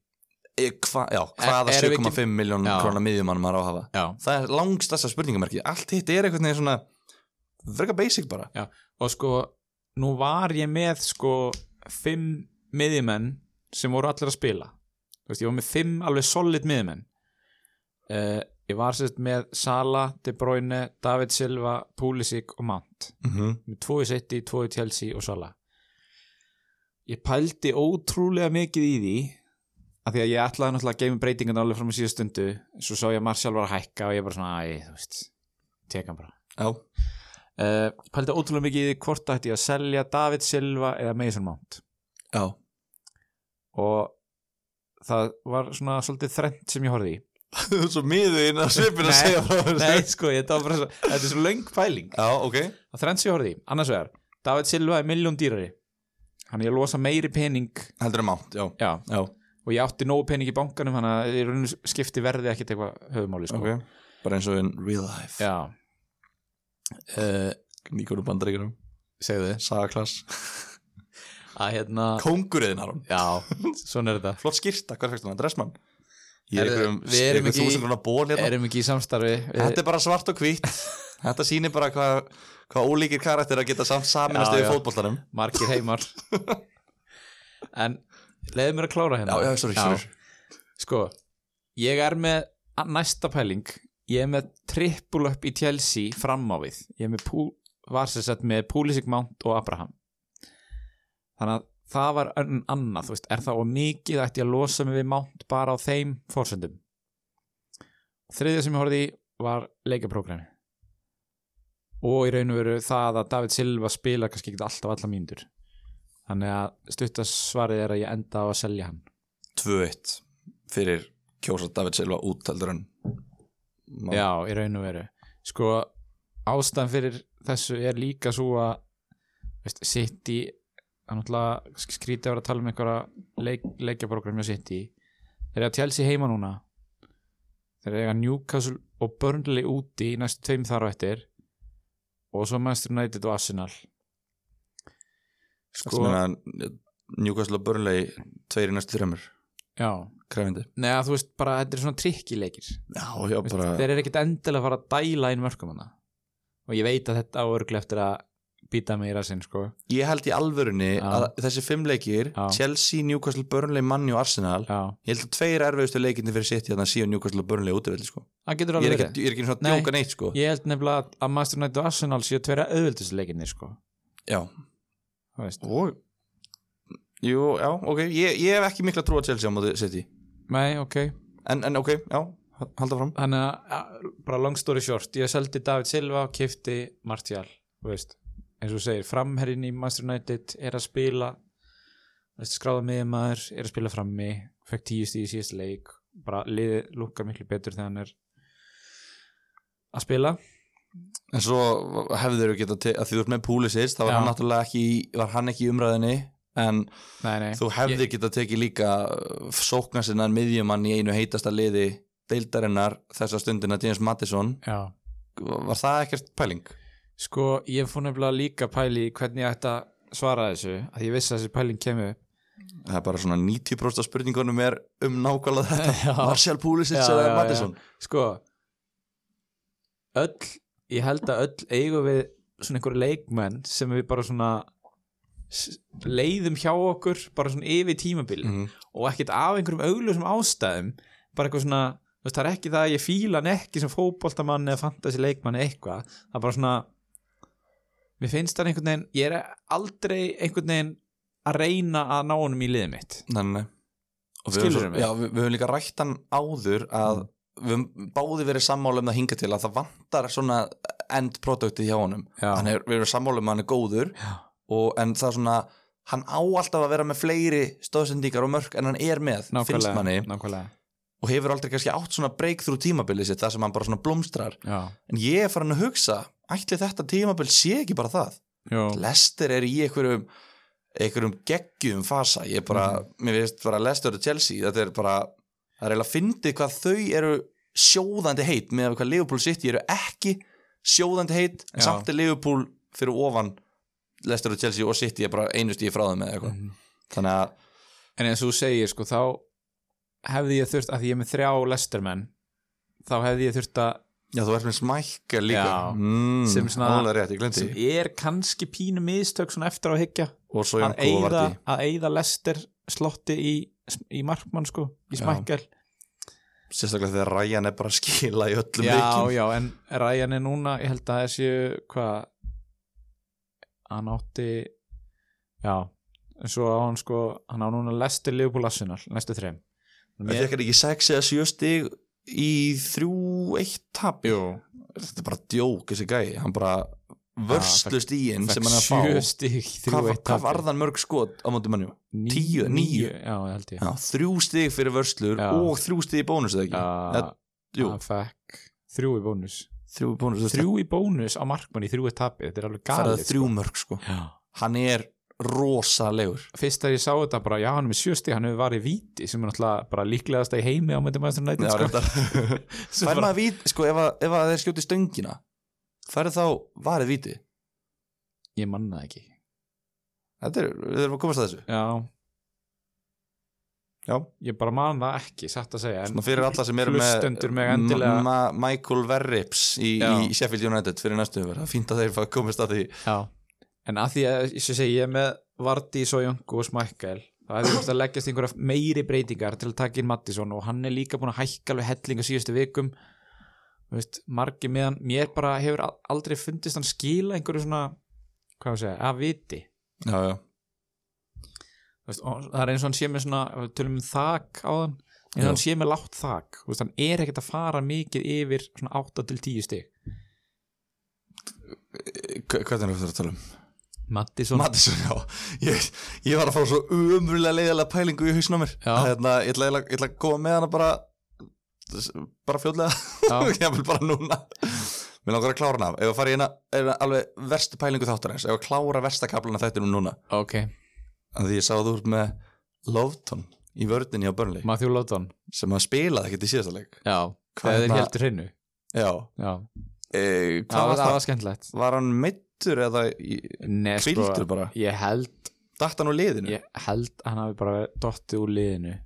Speaker 1: E, hva, já, hvaða
Speaker 2: erum við ekki-
Speaker 1: 7,5 miljón
Speaker 2: Já.
Speaker 1: krónar miðjumann maður á að hafa
Speaker 2: Já
Speaker 1: Það er langstassa spurningamerki Allt hitt er einhvern veginn svona Verka basic bara
Speaker 2: Og sko, nú var ég með sko fimm miðjumenn sem voru allir að spila Þú veist, ég var með fimm alveg solid miðjumenn uh, Ég var sérst með Sala, De Bruyne, David Silva, Pulisic og Mount
Speaker 1: mm
Speaker 2: með tvo í City, tvo í Chelsea og Sala ég pældi ótrúlega mikið í því af því að ég ætlaði náttúrulega að geima breytingan alveg fram í síðast stundu svo sá ég að Martial var að hækka og ég bara svona, æ, þú veist teka hann bara
Speaker 1: Já,
Speaker 2: uh, pældi ótrúlega mikið í því hvort ætti ég að selja David Silva eða Mason Mount
Speaker 1: já,
Speaker 2: og það var svona svolítið þrennt sem ég horfði í
Speaker 1: svo miðin að svipin að
Speaker 2: Nei,
Speaker 1: segja frá þessu
Speaker 2: nei, sko, þetta, var bara svo, þetta er svo löng pæling
Speaker 1: Já, ok
Speaker 2: það þrennt sem ég horfði í, annars vegar David Silva er milljón dýrari hann er að losa meiri pening
Speaker 1: Heldur en mánt, já,
Speaker 2: já,
Speaker 1: já
Speaker 2: og ég átti nógu pening í bankanum þannig að í rauninu skipti verði ekkit eitthvað höfumáli sko.
Speaker 1: Bara eins og in real life
Speaker 2: Já uh,
Speaker 1: Nýkóru bandaríkjurum
Speaker 2: Segðu þið
Speaker 1: Sagaklass
Speaker 2: að hérna
Speaker 1: Kóngurðin Aron
Speaker 2: Já, svona er þetta
Speaker 1: Flott skýrta, hvað er fækst hana? Dressmann Ég
Speaker 2: Er-
Speaker 1: er einhverjum
Speaker 2: við erum
Speaker 1: einhverjum
Speaker 2: ekki í-
Speaker 1: þúsund grunna ból hérna
Speaker 2: Erum ekki í samstarfi
Speaker 1: Þetta er bara svart og hvítt Þetta sýnir bara hvað hva ólíkir karakter að geta samt saminast
Speaker 2: Já,
Speaker 1: yfir
Speaker 2: já.
Speaker 1: fótboltanum
Speaker 2: margir heimar En leiðu mér að klára hérna
Speaker 1: sorry,
Speaker 2: Sko, ég er með a- næsta pæling Ég er með trippul upp í Chelsea fram á við Ég er með pú, var sér sett með Pulisic Mount og Abraham Þannig að það var önn annað, þú veist, er það og mikið ætti ég að losa mig við Mount bara á þeim fórsöndum Þriðja sem ég horfði í var leikaprógrami og í raun og veru það að David Silva spila kannski ekki alltaf alla mínútur Þannig að stuttasvarið er að ég enda á að selja hann
Speaker 1: 2-1 fyrir kjósa David Silva út heldur en Má-
Speaker 2: Já, í raun og veru Sko, ástæðan fyrir þessu er líka svo að veist, City að náttúrulega sk- skrítið að vera að tala um einhverja leik, leikjaprogram hjá City Þeir eru að tjálsi heima núna Þeir eru að Newcastle og Burnley úti í næstu tveim þar á eftir og svo Manchester United og Arsenal
Speaker 1: Sko
Speaker 2: Sko,
Speaker 1: Meina, Newcastle og Burnley Tveir í næstu þremur
Speaker 2: já
Speaker 1: Krefindi
Speaker 2: Nei, að þú veist bara, þetta er svona trikkileikir
Speaker 1: Já, já,
Speaker 2: Veist,
Speaker 1: bara
Speaker 2: þeir eru ekkert endilega að fara að dæla inn mörgum hana og ég veit að þetta á örglega eftir að býta mig í rasinn sko
Speaker 1: Ég held í alvörunni
Speaker 2: Já.
Speaker 1: að þessi fimm leikir
Speaker 2: Já.
Speaker 1: Chelsea, Newcastle, Burnley, Manni og Arsenal
Speaker 2: já,
Speaker 1: Ég held að tveir erfiðustu leikinni fyrir sitt Þannig að síðan Newcastle og Burnley útivill sko.
Speaker 2: það
Speaker 1: Ég
Speaker 2: getur
Speaker 1: er
Speaker 2: alveg
Speaker 1: ekki,
Speaker 2: verið
Speaker 1: ég er ekki svona að
Speaker 2: Nei.
Speaker 1: djóka neitt sko.
Speaker 2: ég held nefnilega að- að Master United og Arsenal séu tverja auðvöldisleikinni sko
Speaker 1: Já
Speaker 2: þú veist.
Speaker 1: og... Jú, já, ok Ég, ég hef ekki mikla trú að Chelsea á móti City
Speaker 2: nei, ok,
Speaker 1: En, en ok, já, halda fram
Speaker 2: þannig að að- bara long story short, ég seldi David Silva og kifti Martial, þú veist eins og þú segir, framherrin í Master United er að spila þú veist, skráða með maður, er að spila frammi fekk tíu stíð í síðast leik bara liðið lúkar miklu betur þegar hann er að spila
Speaker 1: En svo hefður þau geta til, að því þú ert með Pulisic þá var
Speaker 2: Já.
Speaker 1: hann náttúrulega ekki, í- var hann ekki í umræðinni en
Speaker 2: Nei, nei.
Speaker 1: þú hefðir geta tekið líka uh, sóknarsinnan miðjumann í einu heitasta liði deildarinnar þessa stundina James Madison
Speaker 2: Já.
Speaker 1: var það ekkert pæling?
Speaker 2: Sko, ég fór nefnilega líka pæli í hvernig ég ætti að svara þessu að ég vissi að þessi pæling kemur
Speaker 1: það er bara svona 90% af spurningunum er um nákvæmlega þetta
Speaker 2: Já.
Speaker 1: Marcel Pulisic
Speaker 2: Já, já,
Speaker 1: eða
Speaker 2: já.
Speaker 1: Mattisson
Speaker 2: sko öll, ég held að öll eigum við svona einhverju leikmenn sem við bara svona s- leiðum hjá okkur bara svona yfir tímabili
Speaker 1: Mhm.
Speaker 2: og ekkert af einhverjum augljósum ástæðum bara eitthvað svona, þú veist, það er ekki það að ég fíla hann ekki sem fótboltamann eða fantasy leikmann eða eitthvað, það er bara svona mér finnst hann einhvern veginn ég er aldrei einhvern veginn að reyna að ná honum í liðið mitt
Speaker 1: Nei, nei, nei. Og við
Speaker 2: Skilurðu
Speaker 1: höfum,
Speaker 2: mig? Mm.
Speaker 1: já, við, við höfum líka rætt hann áður að við höfum báði verið sammála um það hinga til að það vantar svona end productið hjá honum
Speaker 2: Já.
Speaker 1: hann er, við erum sammála um að hann er góður
Speaker 2: Já.
Speaker 1: og, en það er svona hann á alltaf að vera með fleiri stöðsendingar og mörk en hann er með, finnst manni
Speaker 2: nákvæmlega,
Speaker 1: og hefur aldrei kannski átt svona breakthrough tímabilið sitt það sem hann bara svona blómstrar
Speaker 2: já,
Speaker 1: en ég er farin að hugsa, ætli þetta tímabil sé ekki bara það
Speaker 2: já.
Speaker 1: Lester er í einhverjum einhverjum geggjum fasa ég bara,
Speaker 2: Mhm.
Speaker 1: mér finnst bara Lester og Chelsea þetta er bara, það er eiginlega að fyndi hvað þau eru sjóðandi heit með hvað Liverpool City eru ekki sjóðandi heit, en
Speaker 2: Já.
Speaker 1: samt er Liverpool fyrir ofan Lester og Chelsea og City er bara einu stíði frá þeim eða eitthvað
Speaker 2: Mhm.
Speaker 1: þannig að,
Speaker 2: en eins og þú segir sko þá hefði ég þurft að því ég er með þrjá lestermenn þá hefði ég þurft að
Speaker 1: já þú ert með smækka líka
Speaker 2: Já.
Speaker 1: mm,
Speaker 2: Sem svona-
Speaker 1: alveg rétt, ég glemti
Speaker 2: sem er kannski pínu miðstök svona eftir á að higgja
Speaker 1: og svo
Speaker 2: að
Speaker 1: Janko og
Speaker 2: eyða,
Speaker 1: Vardí
Speaker 2: að eyða lester slotti í, í markmann sko í
Speaker 1: Já.
Speaker 2: smækkel
Speaker 1: sérstaklega þegar Ryan er bara að skila í öllum
Speaker 2: já,
Speaker 1: leikin
Speaker 2: já, en Ryan er núna ég held að þessi hvað hann átti já, en svo á hann sko hann á núna lester Liverpool Arsenal næstu þreim
Speaker 1: það fekk hann ekki 6 eða 7 stig í 3-1 tap
Speaker 2: jú,
Speaker 1: þetta er bara djók þessi gæi hann bara vörslust í inn sem hann er að
Speaker 2: sjö
Speaker 1: fá
Speaker 2: stík
Speaker 1: hvað, hvað varðan mörg skot á móti mannjú? Tíu, níu.
Speaker 2: já, ég held ég
Speaker 1: Já, þrjú stig fyrir vörslur
Speaker 2: Já.
Speaker 1: og þrjú stig í bónus eða ekki?
Speaker 2: já,
Speaker 1: Jú,
Speaker 2: hann fekk þrjú í bónus
Speaker 1: þrjú í bónus þú veist,
Speaker 2: þrjú í bónus á markmann í þrjú í tapi þetta er alveg
Speaker 1: það
Speaker 2: galið
Speaker 1: er þrjú mörg sko
Speaker 2: sko.
Speaker 1: hann er rosalegur
Speaker 2: fyrst að ég sá þetta bara, já hann er með sjösti hann hefur varðið víti sem er náttúrulega bara líklegast í heimi á myndum aðeins nættin
Speaker 1: Já,
Speaker 2: sko.
Speaker 1: reyndar.
Speaker 2: Sem
Speaker 1: fær
Speaker 2: bara-
Speaker 1: maður vít sko ef, að- ef að þeir skjóti stöngina færðu þá varðið víti
Speaker 2: ég manna það ekki
Speaker 1: þetta er, við erum að komast að þessu
Speaker 2: já,
Speaker 1: Já.
Speaker 2: ég bara man það ekki satt að segja,
Speaker 1: Svona
Speaker 2: en
Speaker 1: fyrir alla sem eru með
Speaker 2: Hlustendur mega endilega-
Speaker 1: Ma- Ma- Michael Verrips í,
Speaker 2: Já.
Speaker 1: í Sheffield United fyrir næstu umverð það er fínt að þeir fá- komist að því
Speaker 2: já. en að því að eins og ég segi ég er með Vardí, Sojöngu og Smækkel það hefði þurft að leggjast einhverja meiri breytingar til að taka inn Mattisson og hann er líka búin að hækka alveg hellinga síðustu vikum Þú veist, margi meðan, mér bara hefur al- aldrei fundist hann skila einhverju svona hvað á að segja, að viti
Speaker 1: já, já.
Speaker 2: Þú veist, og það er eins og hann sé með svona ef við tölum um þak á hann eins og
Speaker 1: Já.
Speaker 2: hann sé með látt þak Þú veist, hann er ekkert að fara mikið yfir svona 8-10 stig
Speaker 1: Hva- Hvernig er þetta að tala um?
Speaker 2: Mattisson
Speaker 1: Mattisson, já ég, ég var að fá svo umrúlega leiðilega pælingu í hausnum á mér
Speaker 2: Já.
Speaker 1: hérna, ég, ætla, ég, ætla, ég ætla að koma með hana bara bara fljóðlega
Speaker 2: Já.
Speaker 1: ég vil bara núna Mér langar að klára hana af Ef að fara í eina, eina alveg verstu pælingu þáttarins Ef að klára versta kaplana þættinum núna
Speaker 2: ok,
Speaker 1: Af Því ég sá þú út með Lofton í vördinni á Burnley
Speaker 2: Matthew Lawton
Speaker 1: Sem að spilaði ekkert í síðasta leik
Speaker 2: já,
Speaker 1: Hvað
Speaker 2: það er
Speaker 1: hérna-
Speaker 2: heldur hennu
Speaker 1: Já
Speaker 2: já,
Speaker 1: e,
Speaker 2: það
Speaker 1: Hvað
Speaker 2: var,
Speaker 1: var
Speaker 2: það
Speaker 1: það?
Speaker 2: var skemmtilegt
Speaker 1: Var hann meittur eða í-
Speaker 2: Nei, sko,
Speaker 1: hvíldur bara?
Speaker 2: ég held
Speaker 1: Datt hann úr liðinu?
Speaker 2: ég held að hann hafi bara verið dottið úr liðinu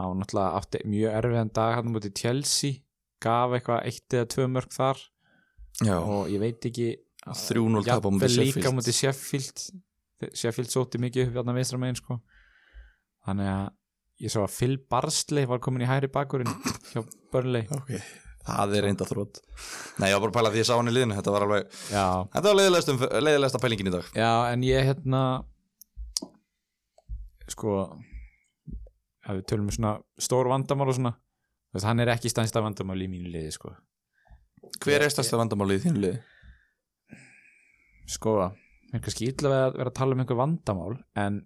Speaker 2: hann náttúrulega átti mjög erfiðan dag hann mútið Chelsea gaf eitthvað eitt eða tvö mörg þar
Speaker 1: Já
Speaker 2: og ég veit ekki
Speaker 1: 3-0 tap á móti
Speaker 2: Jafnvel líka
Speaker 1: Sheffield.
Speaker 2: á móti Sheffield Þe- Sheffield sótti mikið upp hérna vinstra megin sko. þannig að ég sá að Phil Barsley var komin í hæri bakurinn hjá Burnley
Speaker 1: okay. Það er reynda þrótt Nei, ég var bara að pæla því ég sá hann í liðinu Þetta var alveg,
Speaker 2: já,
Speaker 1: þetta var leiðilegast, um, leiðilegasta pælingin í dag
Speaker 2: já en ég hérna sko ef við tölum um svona stór vandamál og svona þú veist, hann er ekki stænsta vandamál í mínu liði sko
Speaker 1: Hver er stærsta vandamálið í þínu liði?
Speaker 2: sko, mér er kannski illa við að vera að tala um einhver vandamál en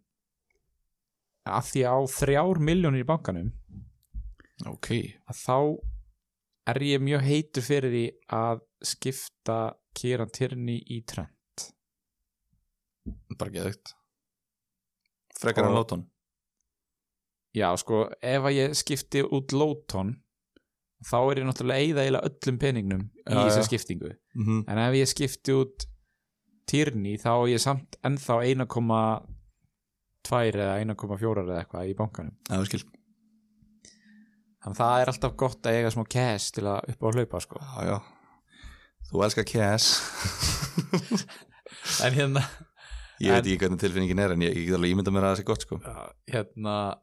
Speaker 2: að því að á þrjár miljónir í bankanum
Speaker 1: Ok
Speaker 2: að þá er ég mjög heitur fyrir því að skipta Kieran Tierney í trend
Speaker 1: Bara geðugt Frekar
Speaker 2: Og-
Speaker 1: en Lóton
Speaker 2: já sko, ef að ég skipti út Lóton þá er ég náttúrulega eða eila öllum peningnum í
Speaker 1: Já,
Speaker 2: þessu
Speaker 1: já.
Speaker 2: skiptingu
Speaker 1: mm -hmm.
Speaker 2: en ef ég skipti út Tierney þá er ég samt ennþá 1,3 tvær eða 1,4 eða eitthvað í bankanum
Speaker 1: Já, ég skil.
Speaker 2: þannig að það er alltaf gott að eiga smá cash til að upp á hlaupa sko
Speaker 1: Já, já. Þú elskar KS.
Speaker 2: en hérna,
Speaker 1: Ég
Speaker 2: En-
Speaker 1: veit ekki hvernig tilfinningin er, en ég, ég get alveg ímynda mér að það sé gott, sko.
Speaker 2: hérna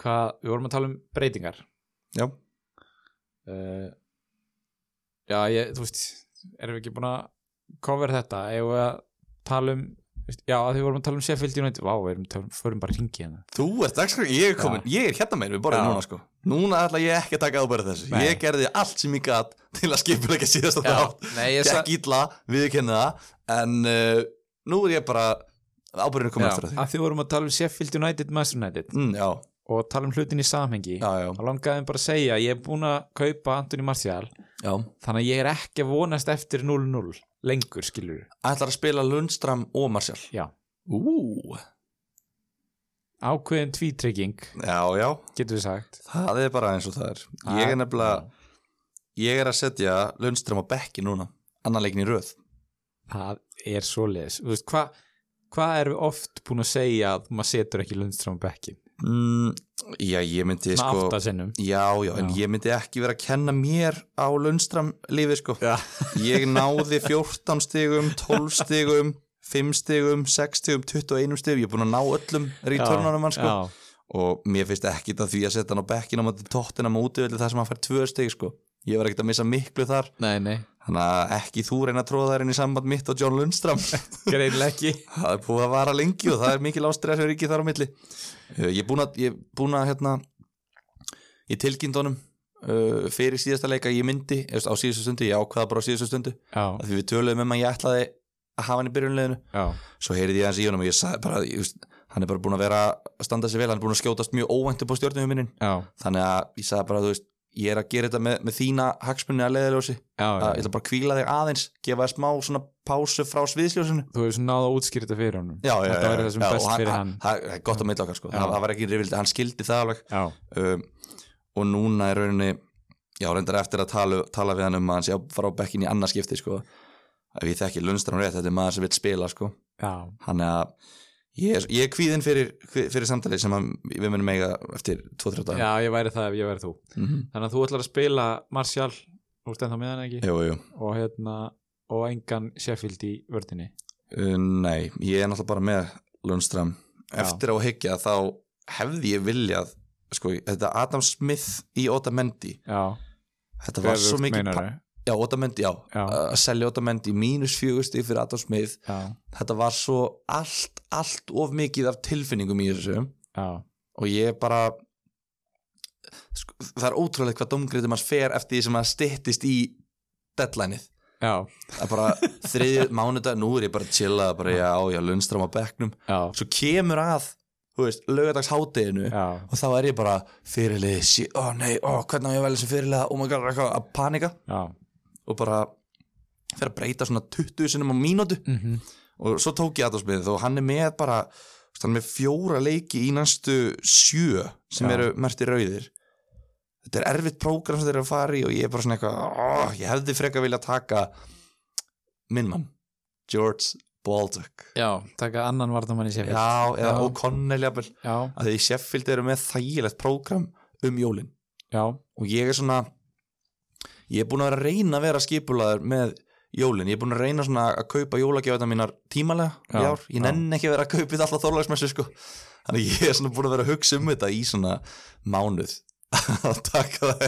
Speaker 2: hvað, við vorum að tala um breytingar
Speaker 1: Já.
Speaker 2: uh, já, ég, þú veist erum við ekki búin að cover þetta ef við að tala um þú veist, já, því við vorum að tala um Sheffield United vá, við erum tala, förum bara hringi hérna
Speaker 1: Þú ert dagskrá, ég er komin, ég er hérna meir við borðið
Speaker 2: Já.
Speaker 1: núna, sko. Núna ætla ég ekki að taka ábæra þessu.
Speaker 2: Nei.
Speaker 1: Ég gerði allt sem ég gat til að skipulegja síðasta þátt.
Speaker 2: nei, ég, sa,
Speaker 1: Gekk illa, við kenna það, en uh, nú er ég bara, ábæriðinu
Speaker 2: já,
Speaker 1: komið eftir að því.
Speaker 2: að því við vorum að tala um Sheffield United Master United
Speaker 1: Mm, já,
Speaker 2: og tala um hlutin í samhengi
Speaker 1: já, já,
Speaker 2: þá langaði mig bara að segja, ég er búin að kaupa Anthony Martial,
Speaker 1: já.
Speaker 2: þannig að ég er ekki að vonast eftir 0-0 lengur, skilur
Speaker 1: Ætlar að spila Lundström og Marsjál.
Speaker 2: Já.
Speaker 1: Ú.
Speaker 2: ákveðin tvítrygging,
Speaker 1: Já, já,
Speaker 2: getur við sagt
Speaker 1: það er bara eins og það er. Ég er nefnilega, ég er að setja Lundström á bekki núna, annan leikin í röð.
Speaker 2: það er svoleiðis þú veist, hvað hva erum við oft búin að segja að maður setur ekki Lundström á bekkin
Speaker 1: Mm, já, ég myndi
Speaker 2: svona
Speaker 1: sko...
Speaker 2: aftasinnum
Speaker 1: Já, já, en
Speaker 2: Já.
Speaker 1: ég myndi ekki vera að kenna mér á Lundström lífi, sko.
Speaker 2: Já.
Speaker 1: Ég náði 14 stigum, 12 stigum, 5 stigum, 6 stigum, 21 stigum. Ég er búin að ná öllum returnunum hans, sko.
Speaker 2: já,
Speaker 1: Og mér finnst ekki það því að setja hann á bekkinu á móti tóttina múti öllu þar sem hann fær 2 stig, sko. Ég var ekkert að missa miklu þar.
Speaker 2: nei, nei,
Speaker 1: Þannig að ekki þú reyna að tróða þær inn í samband mitt og John Lundström.
Speaker 2: greinlega ekki
Speaker 1: það er búið að vara lengi og það er mikil ástriða sem er ekki þar á milli Uh, ég er búin að, ég er búin að hérna, í tilkyndunum uh, fyrir síðasta leika ég myndi eða, á síðustu stundu, ég ákvaða bara á síðustu stundu
Speaker 2: já,
Speaker 1: af því við töluðum um að ég ætlaði að hafa hann í byrjunleginu
Speaker 2: já,
Speaker 1: svo heyrði ég hans í honum og ég sagði bara ég, veist, hann er bara búin að vera að standa sér vel hann er búin að skjótast mjög óvænt upp á stjórnuhuminin
Speaker 2: já,
Speaker 1: þannig að ég sagði bara þú veist ég er að gera þetta með, með þína hagsmunni að leiðiljósi
Speaker 2: já,
Speaker 1: ég
Speaker 2: já.
Speaker 1: ætla bara að kvíla þig aðeins gefa þér smá svona pásu frá sviðsljósinu
Speaker 2: þú hefur náða að útskýra þetta fyrir honum
Speaker 1: já, já,
Speaker 2: Þetta
Speaker 1: já, já.
Speaker 2: væri það sem
Speaker 1: Já,
Speaker 2: best
Speaker 1: og hann-
Speaker 2: fyrir
Speaker 1: hann-
Speaker 2: hann.
Speaker 1: það er gott á milli okkar sko,
Speaker 2: Já.
Speaker 1: það, það var ekki rifildi, hann skildi það alveg
Speaker 2: já,
Speaker 1: um, og núna er rauninni já, reyndar eftir að tala, tala við hann um að hann sé að fara á bekkin í annars skipti sko ef ég þekki Lundström rétt, þetta er maður sem vil spila sko,
Speaker 2: já,
Speaker 1: hann er að ég er, ég er kvíðin fyrir, kvi- fyrir samtali sem að, við munum eiga eftir 2-3 dagar
Speaker 2: já, ég væri það ef ég væri þú
Speaker 1: Mhm.
Speaker 2: þannig að þú ætlar að spila Martial þú stendur með hann ekki
Speaker 1: Jú, jú,
Speaker 2: og hérna, og engan Sheffield í vördinni
Speaker 1: Uh, nei, ég er náttúrulega bara með Lundström eftir á higgja þá hefði ég viljað sko, þetta Adam Smith í Otamendi
Speaker 2: já,
Speaker 1: þetta var svo
Speaker 2: öfugt
Speaker 1: mikið
Speaker 2: meinarðu?
Speaker 1: Já, Otamendi, já,
Speaker 2: Já.
Speaker 1: að selja Otamendi mínus fjögusti fyrir Adam Smith
Speaker 2: já,
Speaker 1: þetta var svo allt, allt of mikið af tilfinningum í þessu
Speaker 2: já,
Speaker 1: og ég bara sko, það er ótrúlega hvað domgriðum hans fer eftir því sem að styttist í deadlineið,
Speaker 2: já,
Speaker 1: það er bara þriðið mánudag, nú er ég bara að chilla bara já, já, lunnstram á bekknum
Speaker 2: já,
Speaker 1: svo kemur að, þú veist, lögadagshátiðinu
Speaker 2: já.
Speaker 1: og þá er ég bara fyrirlið, sí, ó nei, ó, hvernig á ég vel sem fyrirlið, oh my god, eitthvað að panika
Speaker 2: já.
Speaker 1: og bara fer að breyta svona 20 sinum á mínútu
Speaker 2: Mm
Speaker 1: og svo tók ég aðdómsmiðið og hann er með bara þú veist, hann er með fjóra leiki í næstu sjö sem
Speaker 2: Já.
Speaker 1: eru merti rauðir þetta er erfitt prógram sem þeir eru að fara í og ég er bara svona eitthvað oh, ég hefði frekar vilja taka minn mann, George Baldock
Speaker 2: já, taka annan vardamann í Sheffield
Speaker 1: já, eða
Speaker 2: Já.
Speaker 1: O'Connell jafnvel,
Speaker 2: já,
Speaker 1: að því Sheffield eru með þægilegt prógram um jólin
Speaker 2: já,
Speaker 1: og ég er svona ég er búin að vera að reyna að vera skipulaður með jólin, ég er búin að reyna svona að kaupa jólagjöfna mínar tímalega í
Speaker 2: Já,
Speaker 1: ár, ég
Speaker 2: já.
Speaker 1: nenn ekki að vera að kaupa þetta alltaf þorlagsmessu sko, þannig að ég er svona búin að vera að hugsa um þetta í svona mánuð að taka það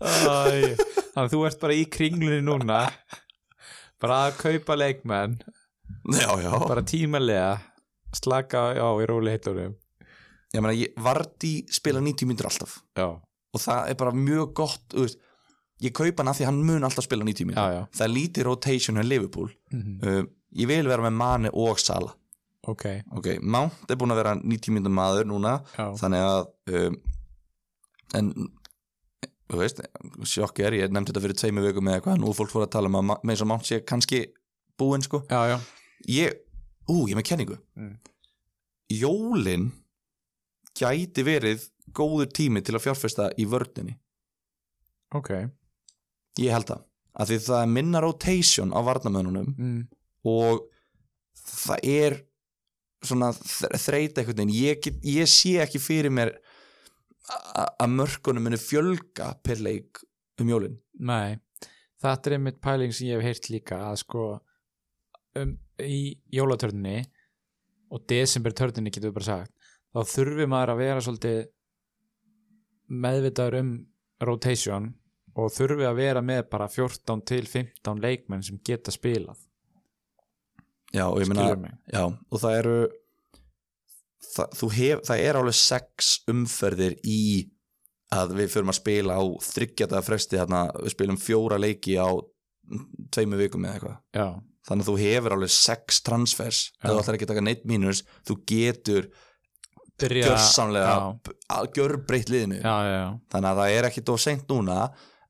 Speaker 2: Æ, þannig að þú ert bara í kringlunni núna bara að kaupa leikmenn
Speaker 1: já, já,
Speaker 2: bara tímalega slaka á í róli heitunum
Speaker 1: ég meina ég vart í spila 90 mínútur alltaf
Speaker 2: já,
Speaker 1: og það er bara mjög gott, þú veist ég kaupa hann af því að hann mun alltaf spila 90
Speaker 2: já,
Speaker 1: mínútur
Speaker 2: já
Speaker 1: það er lítið rotation hjá Liverpool
Speaker 2: Mhm.
Speaker 1: uh, ég vil vera með Mane og Sala
Speaker 2: ok,
Speaker 1: ok, Mount er búin að vera 90 mínútur maður núna
Speaker 2: já,
Speaker 1: þannig að um, en þú veist, sjokk er, ég nefndi þetta fyrir tveimu vikum eða eitthvað, nú er fólk fór að tala um að Ma- Mason Mount sé kannski búinn sko
Speaker 2: já, já
Speaker 1: ég, ú, ég er með kenningu
Speaker 2: Mm.
Speaker 1: Jólin gæti verið góður tími til að fjárfesta í vördinni
Speaker 2: ok,
Speaker 1: ég held það, af því það er minna rotation á varnamönunum
Speaker 2: mm.
Speaker 1: og það er svona þre- þreyta einhvern veginn ég, get, ég sé ekki fyrir mér a- að mörkunum muni fjölga per leik um jólin
Speaker 2: Nei, þetta er einmitt pæling sem ég hef heyrt líka að sko um, í jólatörninni og desembertörninni getur við bara sagt þá þurfi maður að vera svolítið meðvitaður um rotation og þurfi að vera með bara 14 til 15 leikmenn sem geta spilað
Speaker 1: já og ég meina
Speaker 2: skilur mig
Speaker 1: Já, og það eru það, þú hef, það er alveg sex umferðir í að við förum að spila á þryggjata fresti þarna, við spilum fjóra leiki á tveimu vikum eða eitthvað
Speaker 2: Já,
Speaker 1: þannig að þú hefur alveg sex transfers ef
Speaker 2: Já.
Speaker 1: þú ætlar ekki að taka neitt mínus þú getur
Speaker 2: byrja
Speaker 1: gjörsamlega
Speaker 2: já,
Speaker 1: að gjörbreytt liðinu
Speaker 2: já, já, já,
Speaker 1: þannig að það er ekki dóð seint núna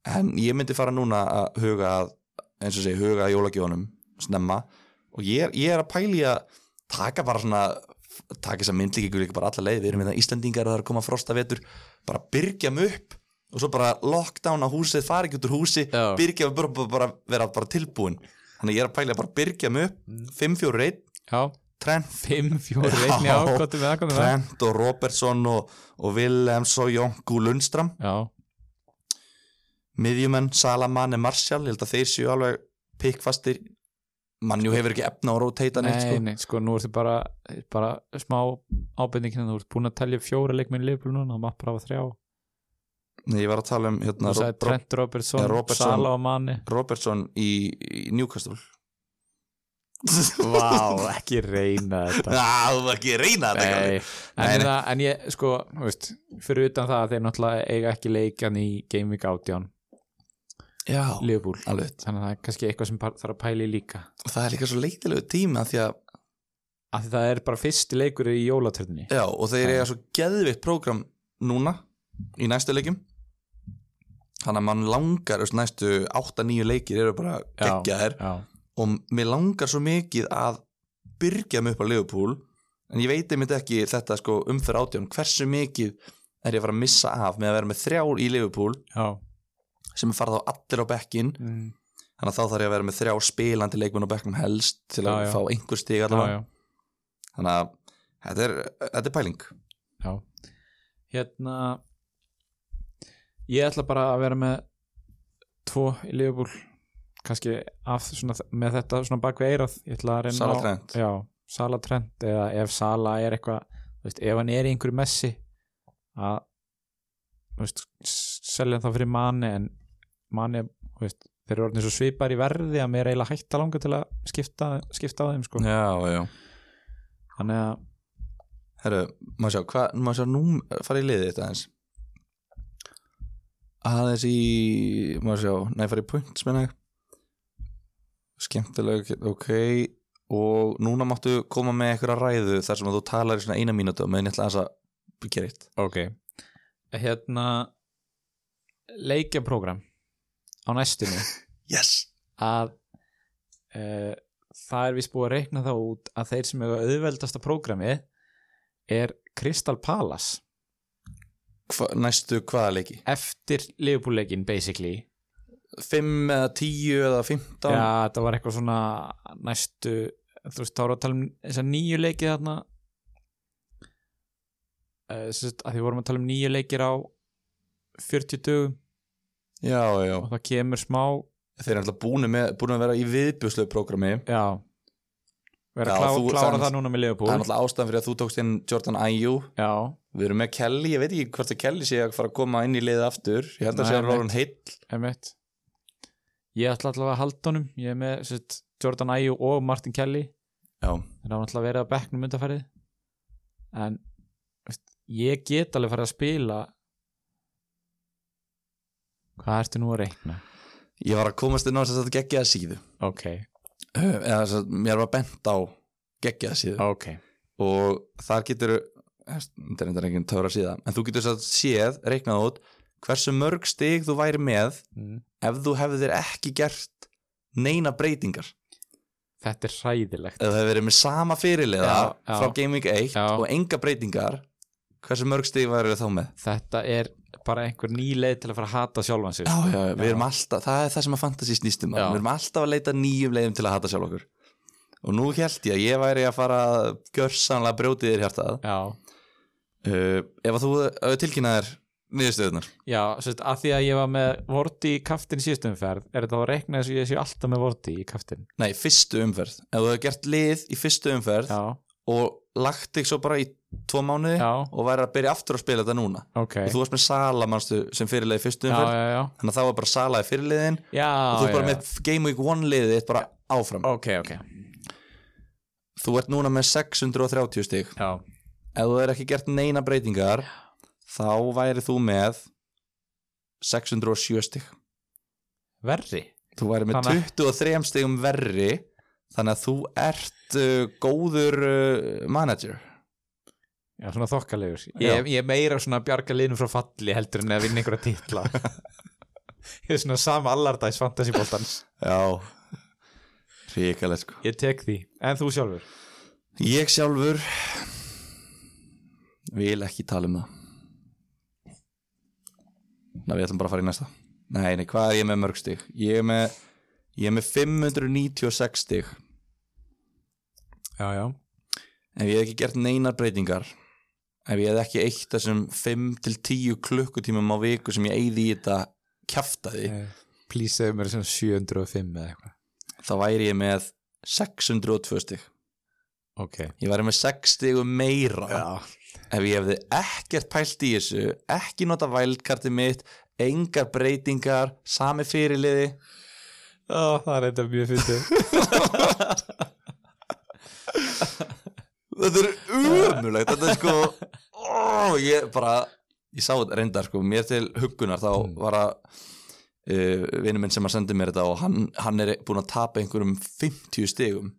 Speaker 1: en ég myndi fara núna að huga að, eins og segja, huga að jólagjónum snemma og ég er, ég er að pæli að taka bara svona taka þess að myndlíkingu líka bara alla leið við erum með það Íslandingar að það er að koma frosta vetur bara byrgjum upp og svo bara lockdown á húsið, fara ekki út úr húsi
Speaker 2: Já.
Speaker 1: byrgjum bara, bara, bara vera bara tilbúin þannig að ég er að pæli að bara byrgjum upp 5-4-1,
Speaker 2: já
Speaker 1: Trent
Speaker 2: 5, 4, 1, já,
Speaker 1: Já.
Speaker 2: hvað er með það, hvað er með það
Speaker 1: Trent og Robertson og, og Willems og Jónku Lundstram
Speaker 2: Já,
Speaker 1: miðjumenn, Salamann og Martial ég held að þeir séu alveg pikkfastir mannjú hefur ekki efna á roteita
Speaker 2: nei,
Speaker 1: neitt sko.
Speaker 2: nei, sko, nú ertu bara, bara smá ábendingin þú ert búin að telja upp fjóra leikminn leifbúl núna þú mátt bara hafa þrjá
Speaker 1: nei, ég var að tala um hérna,
Speaker 2: þú sagði
Speaker 1: Rob, Rob,
Speaker 2: Trent Robertson,
Speaker 1: Ja,
Speaker 2: ja,
Speaker 1: Robertson.
Speaker 2: Sala og Manni
Speaker 1: Robertson í, í Newcastle
Speaker 2: Vá, ekki reyna þetta
Speaker 1: Ná, þú var ekki að reyna þetta
Speaker 2: Nei,
Speaker 1: Kalli.
Speaker 2: en,
Speaker 1: Nei, nei.
Speaker 2: Það, en ég, sko, þú veist, fyrir utan það að þeir náttúrulega eiga ekki leikjan í Game Week 18
Speaker 1: já,
Speaker 2: Liverpool,
Speaker 1: alveg
Speaker 2: þannig að það er kannski eitthvað sem bara þarf að pæli líka
Speaker 1: og það er líka svo leitilegu tíma því að,
Speaker 2: af því það er bara fyrsti leikur í jólatörninni
Speaker 1: já, og þeir
Speaker 2: Já.
Speaker 1: eiga svo geðvitt prógram núna í næstu leikjum þannig að mann langar þú veist, næstu 8-9 leikir eru bara
Speaker 2: Já.
Speaker 1: geggjaðir
Speaker 2: Já,
Speaker 1: og mér langar svo mikið að byrgja mig upp á Liverpool en ég veit einmitt ekki þetta sko umferð átján hversu mikið er ég að fara að missa af með að vera með þrjár í Liverpool
Speaker 2: já
Speaker 1: sem fara þá allir á bekkin
Speaker 2: mm.
Speaker 1: þannig að þá þarf ég að vera með þrjá spilandi leikmenn á bekknum helst til að
Speaker 2: Já, já.
Speaker 1: fá einhver stig
Speaker 2: já,
Speaker 1: allavega
Speaker 2: já,
Speaker 1: þannig að þetta er, þetta er pæling
Speaker 2: já Hérna Ég ætla bara að vera með tvo í Liverpool kannski af, svona, með þetta svona bak við eirað ég ætla að reyna
Speaker 1: Sala
Speaker 2: á-
Speaker 1: Trent.
Speaker 2: Já, Sala Trent eða ef Sala er eitthvað þú veist, ef hann er í einhverju messi að þú veist, s- selja hann þá fyrir manni en manni, þú veist, þeir eru orðin svo svipar í verði að mér er eiginlega hægt að langa til að skipta, skipta á þeim sko
Speaker 1: já, já
Speaker 2: þannig að,
Speaker 1: Herru, maður sjá, hvað, maður sjá nú fara í liðið þetta aðeins aðeins í maður sjá, nei fara í points minna skemmtilega, ok og núna máttu koma með einhverja ræðu þar sem að þú talar í svona eina mínútu og meðan ég ætla aðeins að byggja eitt
Speaker 2: ok hérna leikjaprógram á næstunni
Speaker 1: yes,
Speaker 2: að uh, það er vist búið að reikna þá út að þeir sem eru auðveldasta prógrami er Crystal Palace
Speaker 1: Hva, næstu hvaða leiki
Speaker 2: eftir liðbúleikin basically
Speaker 1: 5 eða 10 eða 15
Speaker 2: Já, þetta var eitthvað svona næstu þú veist, þá erum við að tala um þess að nýju leikið þarna uh, sérst, að því vorum að tala um nýju leikir á 40 dögum
Speaker 1: já, já.
Speaker 2: og það kemur smá
Speaker 1: þeir eru alltaf búin, með, búin að vera í viðbjörslegu programmi
Speaker 2: já
Speaker 1: Já,
Speaker 2: vera að klá,
Speaker 1: þú- það
Speaker 2: klára
Speaker 1: er-
Speaker 2: það, núna með
Speaker 1: það er
Speaker 2: Liverpool
Speaker 1: alltaf ástæðan fyrir að þú tókst inn Jordan Ayew
Speaker 2: já,
Speaker 1: Við erum með Kelly, ég veit ekki hvort að Kelly sé að fara að koma inn í liðið aftur Ég held að
Speaker 2: Nei,
Speaker 1: sé að
Speaker 2: nei.
Speaker 1: Rólan heill
Speaker 2: einmitt ég ætla allavega að halda honum ég er með sérst, Jordan Ayew og Martin Kelly
Speaker 1: Já,
Speaker 2: þeir hafa náttúrulega verið að bekknum undanfærið en veist, ég get alveg farið að spila hvað ertu nú að reikna?
Speaker 1: ég var að komast inn á þess að þetta geggjaða síðu
Speaker 2: ok,
Speaker 1: Uh, Eða þess að mér var bent á geggjaða síðu
Speaker 2: ok
Speaker 1: Og þar getur, þetta er eitthvað töfra síða En þú getur satt séð, reiknað út Hversu mörg stig þú væri með
Speaker 2: mm.
Speaker 1: Ef þú hefðir ekki gert neina breytingar
Speaker 2: þetta er hræðilegt
Speaker 1: Ef þú hefur verið með sama fyrirliða
Speaker 2: Já, já.
Speaker 1: Frá Gaming 1
Speaker 2: Já.
Speaker 1: og enga breytingar Hversu mörg stig væri þá með?
Speaker 2: þetta er bara einhver ný leið til að fara að hata sjálfan sig
Speaker 1: já,
Speaker 2: sko.
Speaker 1: já, já, við erum alltaf, það er það sem að fantasy snýstum
Speaker 2: Já.
Speaker 1: við erum alltaf að leita nýjum leiðum til að hata sjálf okkur og nú held ég að ég væri að fara að gjörsanlega brjótið þér hjartað
Speaker 2: já,
Speaker 1: uh, ef að þú uh, tilkynnaðir niðurstöðunar
Speaker 2: já sérst, að því að ég var með vorti í kaftin síðustu umferð er þetta þá að reikna þess að ég sé alltaf með vorti í kaftin
Speaker 1: nei, fyrstu umferð, ef þú hefur gert lið í fyrstu umferð
Speaker 2: já,
Speaker 1: og lagt þig svo bara í tvo mánuði
Speaker 2: Já.
Speaker 1: og væri að byrja aftur að spila þetta núna
Speaker 2: ok
Speaker 1: og þú varst með Sala manstu, sem fyrirlega í fyrstu
Speaker 2: já,
Speaker 1: umferð
Speaker 2: já, já,
Speaker 1: þannig að það var bara Sala í fyrirliðin
Speaker 2: já
Speaker 1: og þú er bara
Speaker 2: já.
Speaker 1: með Game Week 1 liðið þitt bara áfram
Speaker 2: ok, ok,
Speaker 1: þú ert núna með 630 stig
Speaker 2: já,
Speaker 1: ef þú er ekki gert neina breytingar þá væri þú með 607 stig
Speaker 2: verri
Speaker 1: þú væri með
Speaker 2: Þannig
Speaker 1: 23 stigum verri þannig að þú ert uh, góður uh, manager
Speaker 2: Já, svona þokkalegur.
Speaker 1: Já.
Speaker 2: Ég, ég er meira svona að bjarga liðnum frá falli heldur en að vinna einhverja titla. ég er svona sam allardæs fantasybóltans.
Speaker 1: já ríkalegt sko
Speaker 2: Ég tek því. En þú sjálfur?
Speaker 1: ég sjálfur vil ekki tala um það Ná, við ætlum bara að fara í næsta nei, nei, hvað er ég með mörg stig ég er með, ég er með 596 stig
Speaker 2: Já, já.
Speaker 1: ef ég hef ekki gert neinar breytingar ef ég hef ekki eitt þessum 5-10 klukkutímum á viku sem ég eyði í þetta kjaftaði
Speaker 2: Eh. Please segðu mér svona 705 eða eitthvað.
Speaker 1: þá væri ég með 602 stig
Speaker 2: Ok.
Speaker 1: ég væri með 6 stigum meira ef ég hefði ekkert pælt í þessu ekki nota vældkarti mitt engar breytingar, sami fyrirliði
Speaker 2: Ó, það er þetta mjög fyndið.
Speaker 1: þetta er umulegt þetta er sko ó, ég bara, ég sá þetta reyndar sko, mér til hugunar þá var að uh, vinur minn sem að sendi mér þetta og hann, hann er búin að tapa einhverjum 50 stigum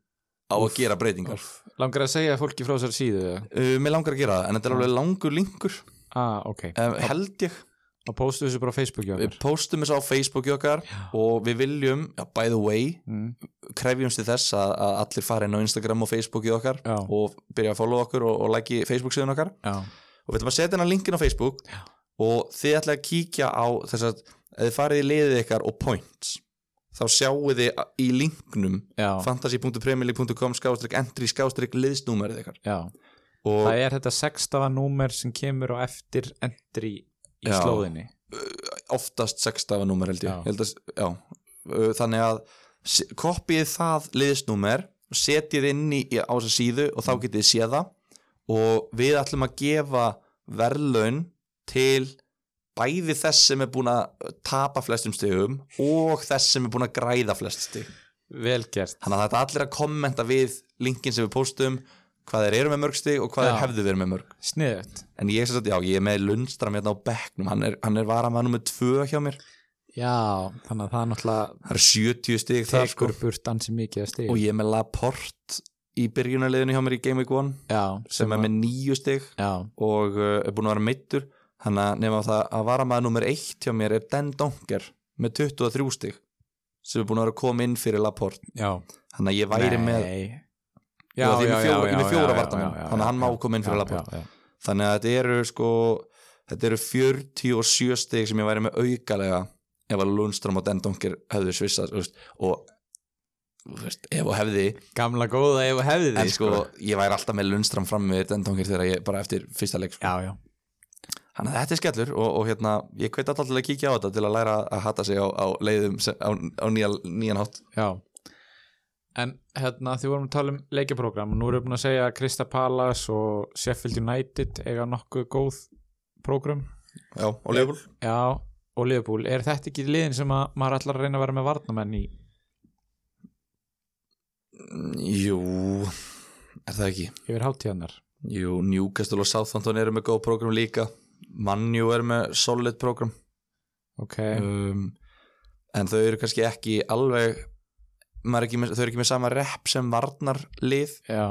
Speaker 1: á að gera breytingar
Speaker 2: Langar að segja fólki frá þessar síðu eða?
Speaker 1: uh, mér langar að gera það, en þetta er alveg langur linkur
Speaker 2: Ah, ok.
Speaker 1: um, held ég
Speaker 2: Og postu þessu bara á Facebook hjá
Speaker 1: við
Speaker 2: mér.
Speaker 1: postum þessu á Facebooki okkar og við viljum, já, by the way
Speaker 2: Mm.
Speaker 1: krefjumst til þess að, að allir fara inn á Instagram og Facebooki okkar
Speaker 2: Já.
Speaker 1: og byrja að follow okkur og, og like Facebook síðan okkar
Speaker 2: Já.
Speaker 1: og við ætlum að setja hennar linkin á Facebook og þið ætlaði að kíkja á þess að ef þið farið í liðið ykkar og points þá sjáu þið í linknum
Speaker 2: Já.
Speaker 1: fantasy.premili.com skástrík entry skástrík liðsnúmerið ykkar
Speaker 2: Já.
Speaker 1: og
Speaker 2: Það er þetta sextafa númer sem kemur á eftir endri í
Speaker 1: Já.
Speaker 2: slóðinni.
Speaker 1: oftast sextafa númer held ég,
Speaker 2: Já.
Speaker 1: Ég held að, já. Uh, þannig að se- kopíið það liðsnúmer og setjið inn í, á þessa síðu og
Speaker 2: Mm.
Speaker 1: þá getið þið séð það og við ætlum að gefa verðlaun til bæði þess sem er búin að tapa flestum stigum og þess sem er búin að græða flest stig
Speaker 2: Vel gert.
Speaker 1: þannig að þetta er allir að kommenta við linkin sem við postum hvað þeir eru með mörg stig og hvað
Speaker 2: Já.
Speaker 1: þeir hefðu verið með mörg
Speaker 2: Sniðut.
Speaker 1: en ég, sem sagt, já, ég er með Lundstram hérna á bekknum, hann er, hann er varamann nummer 2 hjá mér
Speaker 2: Já, þannig að það náttúrulega
Speaker 1: það eru 70 stig þar sko
Speaker 2: tekur burt ansi mikið að stig
Speaker 1: og ég er með Laporte í byrjunarliðinu hjá mér í Game Week 1
Speaker 2: já,
Speaker 1: sem er með 9 stig
Speaker 2: já,
Speaker 1: og uh, er búin að vera meittur þannig að nefna það að varamaður nummer 1 hjá mér er Den Donker með 23 stig sem er búin að vera að koma inn fyrir Laporte
Speaker 2: já,
Speaker 1: þannig að ég væri með
Speaker 2: já,
Speaker 1: því ég er með
Speaker 2: já,
Speaker 1: fjóra-
Speaker 2: já,
Speaker 1: ég er með
Speaker 2: já,
Speaker 1: fjóra
Speaker 2: já,
Speaker 1: varnarmenn,
Speaker 2: já, já,
Speaker 1: þannig að hann
Speaker 2: já,
Speaker 1: má
Speaker 2: já,
Speaker 1: koma inn fyrir
Speaker 2: já,
Speaker 1: Laporte.
Speaker 2: já, já.
Speaker 1: þannig að þetta eru sko þetta eru 47 stig sem ég væri með aukalega ef að Lundström og Den Donker hefðu svissað þú veist, og þú veist, ef og hefði
Speaker 2: gamla góða ef hefði
Speaker 1: en sko, ég væri alltaf með Lundström fram með Den Donker þegar ég bara eftir fyrsta leik sko.
Speaker 2: já, já,
Speaker 1: þannig að þetta er skellur og, og hérna, ég hveit alltaf til að kíkja á þetta til að læra að hata sig á, á leiðum sem, á, á nýja, nýjan hátt
Speaker 2: já en hérna því vorum að tala um leikjaprogram og nú erum við búin að segja að Krista Palas og Sheffield United eiga nokkuð góð program
Speaker 1: já, og leifur
Speaker 2: já, og Liverpool, er þetta ekki liðin sem að maður ætlar að reyna að vera með varnamenn í
Speaker 1: jú, er það ekki
Speaker 2: yfir hátíðanar
Speaker 1: jú, Newcastle og Southampton eru með góð program líka Manju er með solid program
Speaker 2: ok,
Speaker 1: um, en þau eru kannski ekki alveg maður er ekki með, þau eru ekki með sama rep sem varnarlið
Speaker 2: já,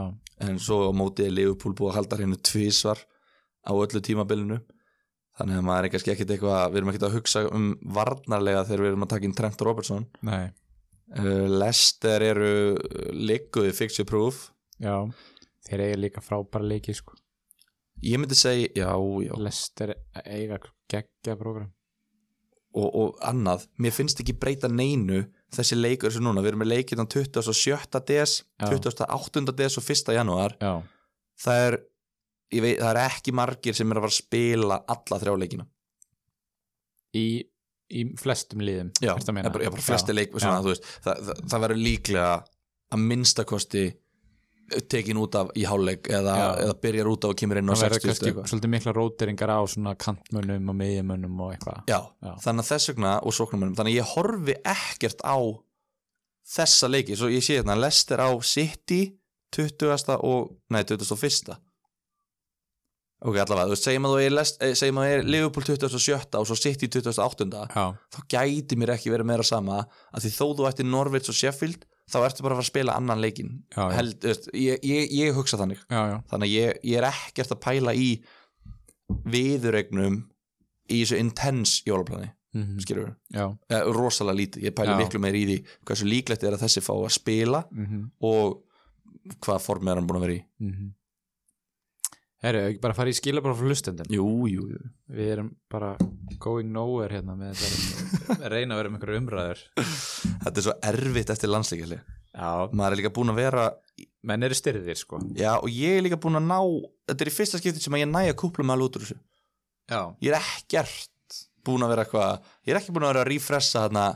Speaker 1: en svo á mótið er Liverpool búið að halda hreinu tvísvar á öllu tímabilinu þannig að maður er kannski ekkit eitthvað við erum ekkit að hugsa um varnarlega þegar við erum að taka inn Trent Robertson
Speaker 2: nei,
Speaker 1: uh, Lester eru ligguði fixture proof
Speaker 2: já þeir eiga líka frábæra leiki sko
Speaker 1: ég myndi segja, já, já
Speaker 2: Lester eiga geggja program
Speaker 1: og, og annað, mér finnst ekki breyta neinu þessi leikur sem núna, við erum með leikinn á 27. des,
Speaker 2: Já.
Speaker 1: 28. des og 1. janúar,
Speaker 2: já,
Speaker 1: það er ég veit, það er ekki margir sem er að fara að spila alla þrjáleikina
Speaker 2: í, í flestum liðum
Speaker 1: Já,
Speaker 2: ertu að meina?
Speaker 1: ég bara, ég bara flesti
Speaker 2: Já,
Speaker 1: leik svona, þú veist, það, það, það verður líklega að minnstakosti tekin út af í hálfleik eða,
Speaker 2: Já.
Speaker 1: eða byrjar út af og sko. kemur inn á
Speaker 2: það verður
Speaker 1: 60
Speaker 2: kannski
Speaker 1: eitthvað.
Speaker 2: svolítið mikla róteringar á svona kantmönnum og miðjumönnum og eitthvað
Speaker 1: Já,
Speaker 2: Já.
Speaker 1: þannig að þess vegna og sóknumennum, þannig að ég horfi ekkert á þessa leiki, svo ég sé hérna Lester á City 20. og, nei, 21. Ok, allavega, þú veist, segjum að þú er, Lest- eh, segjum að þú er Liverpool 27. og svo City 28.
Speaker 2: já,
Speaker 1: þá gæti mér ekki verið meira sama að því þó þú ættir Norvits og Sheffield þá ertu bara að fara að spila annan leikin
Speaker 2: já, já,
Speaker 1: Held, þú veist, ég, ég, ég hugsa þannig
Speaker 2: já, já.
Speaker 1: þannig að ég, ég er ekkert að pæla í viðuregnum í þessu intense jólaplani
Speaker 2: Mhm,
Speaker 1: skilur við,
Speaker 2: já.
Speaker 1: eh, rosalega lítið ég pæla
Speaker 2: Já.
Speaker 1: miklu meir í því hversu líklegt er að þessi fá að spila
Speaker 2: mhm.
Speaker 1: og hvað form er hann búin að vera í
Speaker 2: mm -hmm. Herru, ekki bara fara í skilabróf frá hlustendin
Speaker 1: jú, jú, jú.
Speaker 2: Við erum bara going nowhere hérna með þetta að reyna að vera með einhverju umræður
Speaker 1: þetta er svo erfitt eftir landsleikjali
Speaker 2: Já,
Speaker 1: maður er líka búin að vera
Speaker 2: menn eru styrðir sko
Speaker 1: já, og ég er líka búin að ná þetta er í fyrsta skipti sem að ég næ að kúpla með alveg út úr þessu
Speaker 2: Já,
Speaker 1: ég er ekkert búin að vera eitthvað ég er ekki búin að vera að refressa þarna